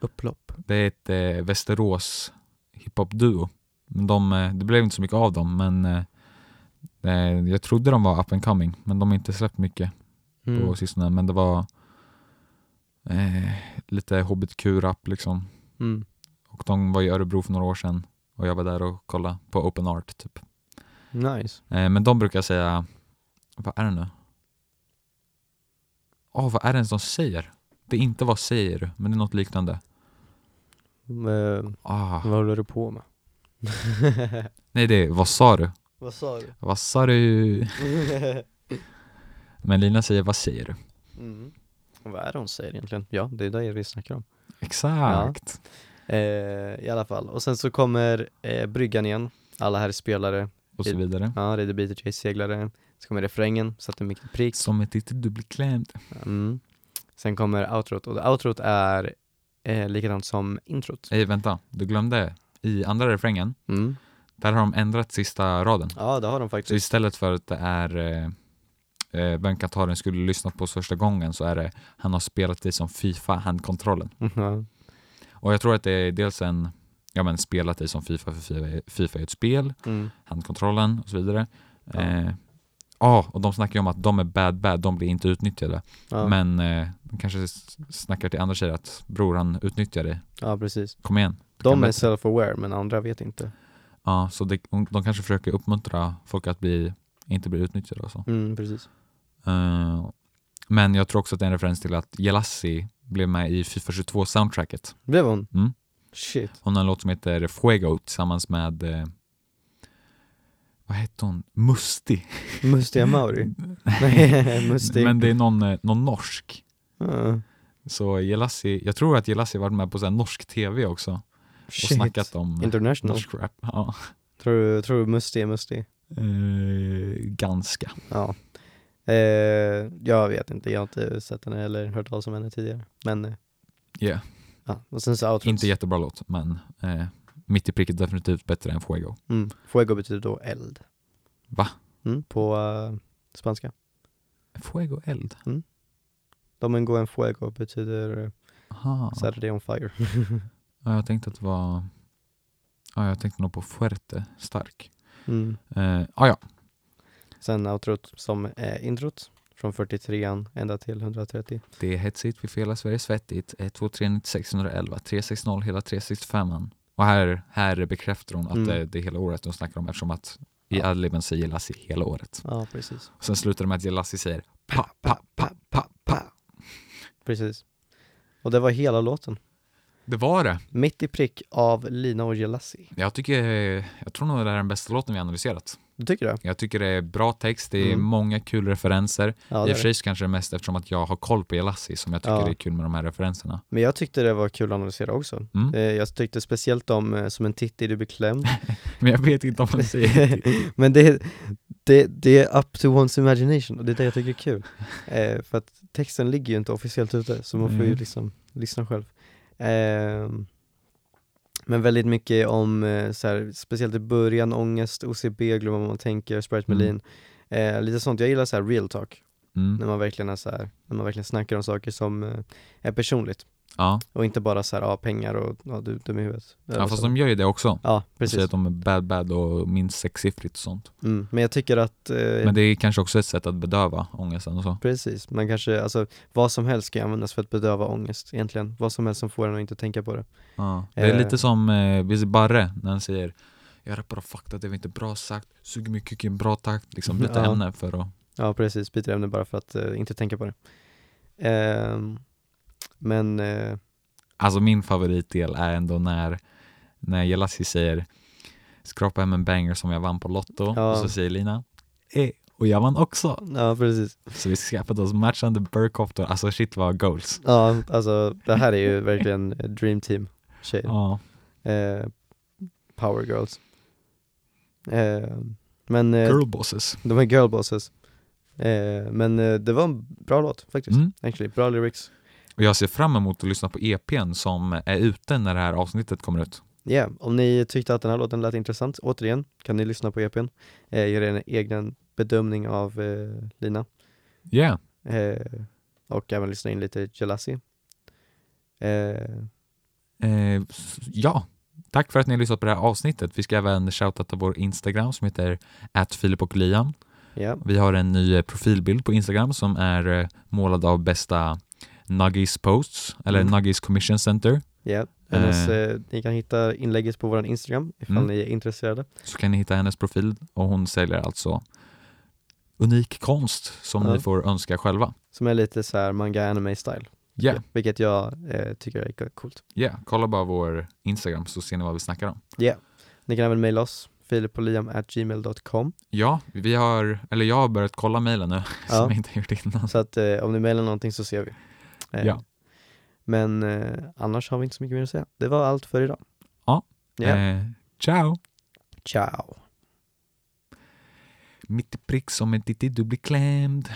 Speaker 1: Upplopp.
Speaker 2: Det är ett eh, Västerås hiphop-duo. Men de, eh, det blev inte så mycket av dem, men eh, eh, jag trodde de var up and coming, men de har inte släppt mycket
Speaker 1: Mm.
Speaker 2: på sistone. Men det var eh, lite hbtq-rap liksom.
Speaker 1: Mm.
Speaker 2: Och de var i Örebro för några år sedan och jag var där och kollade på open art typ.
Speaker 1: Nice.
Speaker 2: Eh, men de brukar säga, vad är det nu? Åh, vad är det ens de säger? Det är inte vad säger du, men det är något liknande.
Speaker 1: Eh,
Speaker 2: Ah,
Speaker 1: vad håller du på med?
Speaker 2: nej, det är vad sa du?
Speaker 1: vad sa du?
Speaker 2: Vad sa du? Men Lina säger, vad säger du?
Speaker 1: mm. Vad är det hon säger egentligen? Ja, det är det vi snackar om.
Speaker 2: Exakt.
Speaker 1: Eh, I alla fall. Och sen så kommer eh, bryggan igen. Alla här är spelare.
Speaker 2: Och så vidare.
Speaker 1: Ja, Ready Beater Chase seglare. Så kommer refrängen, satte mycket prick.
Speaker 2: Som ett litet dubbelklämt.
Speaker 1: Mm. Sen kommer outrot och outrot är eh, likadant som introt.
Speaker 2: Nej, vänta. Du glömde. I andra refrängen,
Speaker 1: Mm.
Speaker 2: där har de ändrat sista raden.
Speaker 1: Ja, det har de
Speaker 2: Så
Speaker 1: faktiskt.
Speaker 2: istället för att det är eh, eh, Vem Kataren skulle lyssna på första gången så är det Han har spelat dig som Fifa, handkontrollen.
Speaker 1: Ja.
Speaker 2: Och jag tror att det är dels en Ja men spelat dig som Fifa, för Fifa är- Fifa är ett spel,
Speaker 1: Mm.
Speaker 2: handkontrollen och så vidare.
Speaker 1: Ja.
Speaker 2: Ja, eh, ja, och de snackar ju om att de är bad bad, de blir inte utnyttjade.
Speaker 1: Ja.
Speaker 2: Men eh, de kanske s- snackar till andra tjejer att bror han utnyttjar dig,
Speaker 1: ja, precis.
Speaker 2: kom igen. du kan
Speaker 1: De är
Speaker 2: bättre.
Speaker 1: self-aware men andra vet inte.
Speaker 2: Ja, så det, de kanske försöker uppmuntra folk att bli, inte bli utnyttjade och så.
Speaker 1: Mm, precis.
Speaker 2: Eh, men jag tror också att det är en referens till att Jelassi blev med i Fifa 22 soundtracket.
Speaker 1: Blev hon?
Speaker 2: Mm.
Speaker 1: Shit.
Speaker 2: Hon har en låt som heter Fuego tillsammans med eh, vad hette hon? Musti.
Speaker 1: Mustiga Mauri? Nej, Mustig.
Speaker 2: Men det är någon, eh, någon norsk.
Speaker 1: Ja.
Speaker 2: Så Jelassi, jag tror att Jelassi varit med på så här norsk tv också och
Speaker 1: Shit.
Speaker 2: snackat om eh,
Speaker 1: International.
Speaker 2: norsk rap. Ja.
Speaker 1: Tror du, tror du Musti är Musti?
Speaker 2: Eh, ganska.
Speaker 1: Ja. Eh, jag vet inte, jag har inte sett henne eller hört talas om henne tidigare. Men, eh,
Speaker 2: Yeah.
Speaker 1: ja. Och sen så outrot.
Speaker 2: Inte jättebra låt, men eh, mitt i pricket definitivt bättre än Fuego.
Speaker 1: Mm. Fuego betyder då eld.
Speaker 2: Va?
Speaker 1: Mm, på eh, spanska.
Speaker 2: Fuego eld?
Speaker 1: Domingo en fuego betyder eh,
Speaker 2: Aha.
Speaker 1: Saturday on fire.
Speaker 2: Ja, jag tänkte att det var... Ja, jag tänkte nog på Fuerte, stark.
Speaker 1: Mm.
Speaker 2: Eh, ah, ja,
Speaker 1: Sen outrot som är introt från 43an ända till 130.
Speaker 2: det är hetsigt, vi får hela Sverige svettigt. Eh, 1, 2, 3, 96, 111, 360, hela 365. Och här, här bekräftar hon att
Speaker 1: Mm.
Speaker 2: det, det är hela året de snackar om eftersom att i
Speaker 1: Ja.
Speaker 2: adlibben säger Lassi hela året.
Speaker 1: Ja, precis.
Speaker 2: Och sen slutar det med att Lassi säger pa, pa, pa, pa, pa.
Speaker 1: Precis. Och det var hela låten.
Speaker 2: Det var det.
Speaker 1: Mitt i prick av Lina och Jelassi.
Speaker 2: Jag tycker, eh, jag tror nog det här är den bästa låten vi har analyserat.
Speaker 1: Du tycker det?
Speaker 2: Jag tycker det är bra text, det är
Speaker 1: Mm.
Speaker 2: många kul referenser.
Speaker 1: Ja, det
Speaker 2: I och
Speaker 1: är
Speaker 2: för
Speaker 1: det.
Speaker 2: sig så kanske det är mest eftersom att jag har koll på Elassi som jag tycker
Speaker 1: Ja.
Speaker 2: det är kul med de här referenserna.
Speaker 1: Men jag tyckte det var kul att analysera också.
Speaker 2: Mm.
Speaker 1: Eh, jag tyckte speciellt om eh, Som en titt är du beklämd.
Speaker 2: Men jag vet inte om man säger
Speaker 1: Men det, det, det är up to one's imagination och det är det jag tycker är kul. Eh, för att texten ligger ju inte officiellt ute så man får ju
Speaker 2: Mm.
Speaker 1: liksom lyssna själv. Ehm, men väldigt mycket om, eh, så här, speciellt i början, ångest, OCB, glömma vad man tänker, Sprite
Speaker 2: Mm.
Speaker 1: Melin. Eh, lite sånt, jag gillar så här real talk, när
Speaker 2: mm.
Speaker 1: man verkligen är så här, när man verkligen snackar om saker som eh, är personligt.
Speaker 2: Ja,
Speaker 1: Och inte bara så här, ah, pengar och ah, du är dum i huvudet. Eller
Speaker 2: ja fast
Speaker 1: så.
Speaker 2: de gör ju det också.
Speaker 1: ja
Speaker 2: De
Speaker 1: precis.
Speaker 2: säger att de är bad bad och minst sexsiffrigt och sånt.
Speaker 1: Mm. Men jag tycker att eh,
Speaker 2: Men det är kanske också ett sätt att bedöva ångesten och så.
Speaker 1: Precis, man kanske, alltså vad som helst kan användas för att bedöva ångest egentligen. Vad som helst som får en att inte tänka på det.
Speaker 2: Ja. Det är
Speaker 1: Eh.
Speaker 2: lite som eh, Busy Barre när han säger jag rappar om fakta, det var inte bra sagt, suger mig kuken, bra takt, liksom byta
Speaker 1: Mm, Ja.
Speaker 2: ämne för att
Speaker 1: Ja precis, byter ämne bara för att eh, inte tänka på det. Ehm, men eh,
Speaker 2: Alltså min favoritdel är ändå när, när Jelassi säger skrapa hem en banger som jag vann på Lotto
Speaker 1: Ja.
Speaker 2: och så säger Lina eh, och jag vann också.
Speaker 1: ja precis.
Speaker 2: Så vi skaffade oss matchande burkoftor, alltså shit vad goals.
Speaker 1: Ja, alltså det här är ju verkligen eh, dream team tjejer.
Speaker 2: Ja,
Speaker 1: Eh, power girls. Eh, men eh,
Speaker 2: girlbosses.
Speaker 1: de är girl bosses. Eh, men eh, det var en bra låt faktiskt,
Speaker 2: Mm.
Speaker 1: actually. Bra lyrics.
Speaker 2: Och jag ser fram emot att lyssna på EPn som är ute när det här avsnittet kommer ut.
Speaker 1: Yeah, om ni tyckte att den här låten lät intressant, återigen kan ni lyssna på EPn. Eh, gör en egen bedömning av eh, Lina.
Speaker 2: Yeah,
Speaker 1: Eh, och även lyssna in lite Jelassi. Eh,
Speaker 2: eh, s- ja. Tack för att ni har lyssnat på det här avsnittet. Vi ska även shoutouta vår Instagram som heter @filip och Liam.
Speaker 1: ja,
Speaker 2: Vi har en ny eh, profilbild på Instagram som är eh, målad av bästa Nuggies Posts, eller
Speaker 1: Mm.
Speaker 2: Nuggies Commission Center.
Speaker 1: ja. Hennes,
Speaker 2: Eh.
Speaker 1: eh, ni kan hitta inlägget på vår Instagram ifall
Speaker 2: Mm.
Speaker 1: ni är intresserade.
Speaker 2: Så kan ni hitta hennes profil och hon säljer alltså unik konst som
Speaker 1: Ja.
Speaker 2: ni får önska själva.
Speaker 1: Som är lite så här manga anime style.
Speaker 2: Ja,
Speaker 1: Vilket jag eh, tycker är coolt.
Speaker 2: ja. kolla bara vår Instagram så ser ni vad vi snackar om.
Speaker 1: Ni kan även mejla oss, filipoliam.gmail.com
Speaker 2: Ja, vi har, eller jag har börjat kolla mejlen nu som
Speaker 1: Ja.
Speaker 2: jag inte har gjort innan.
Speaker 1: Så att eh, om ni mejlar någonting så ser vi. Eh,
Speaker 2: Ja.
Speaker 1: Men eh, annars har vi inte så mycket mer att säga. Det var allt för idag.
Speaker 2: Ja.
Speaker 1: Ja.
Speaker 2: Eh, ciao!
Speaker 1: Ciao.
Speaker 2: Mitt i prick som en titti, du blir klämd.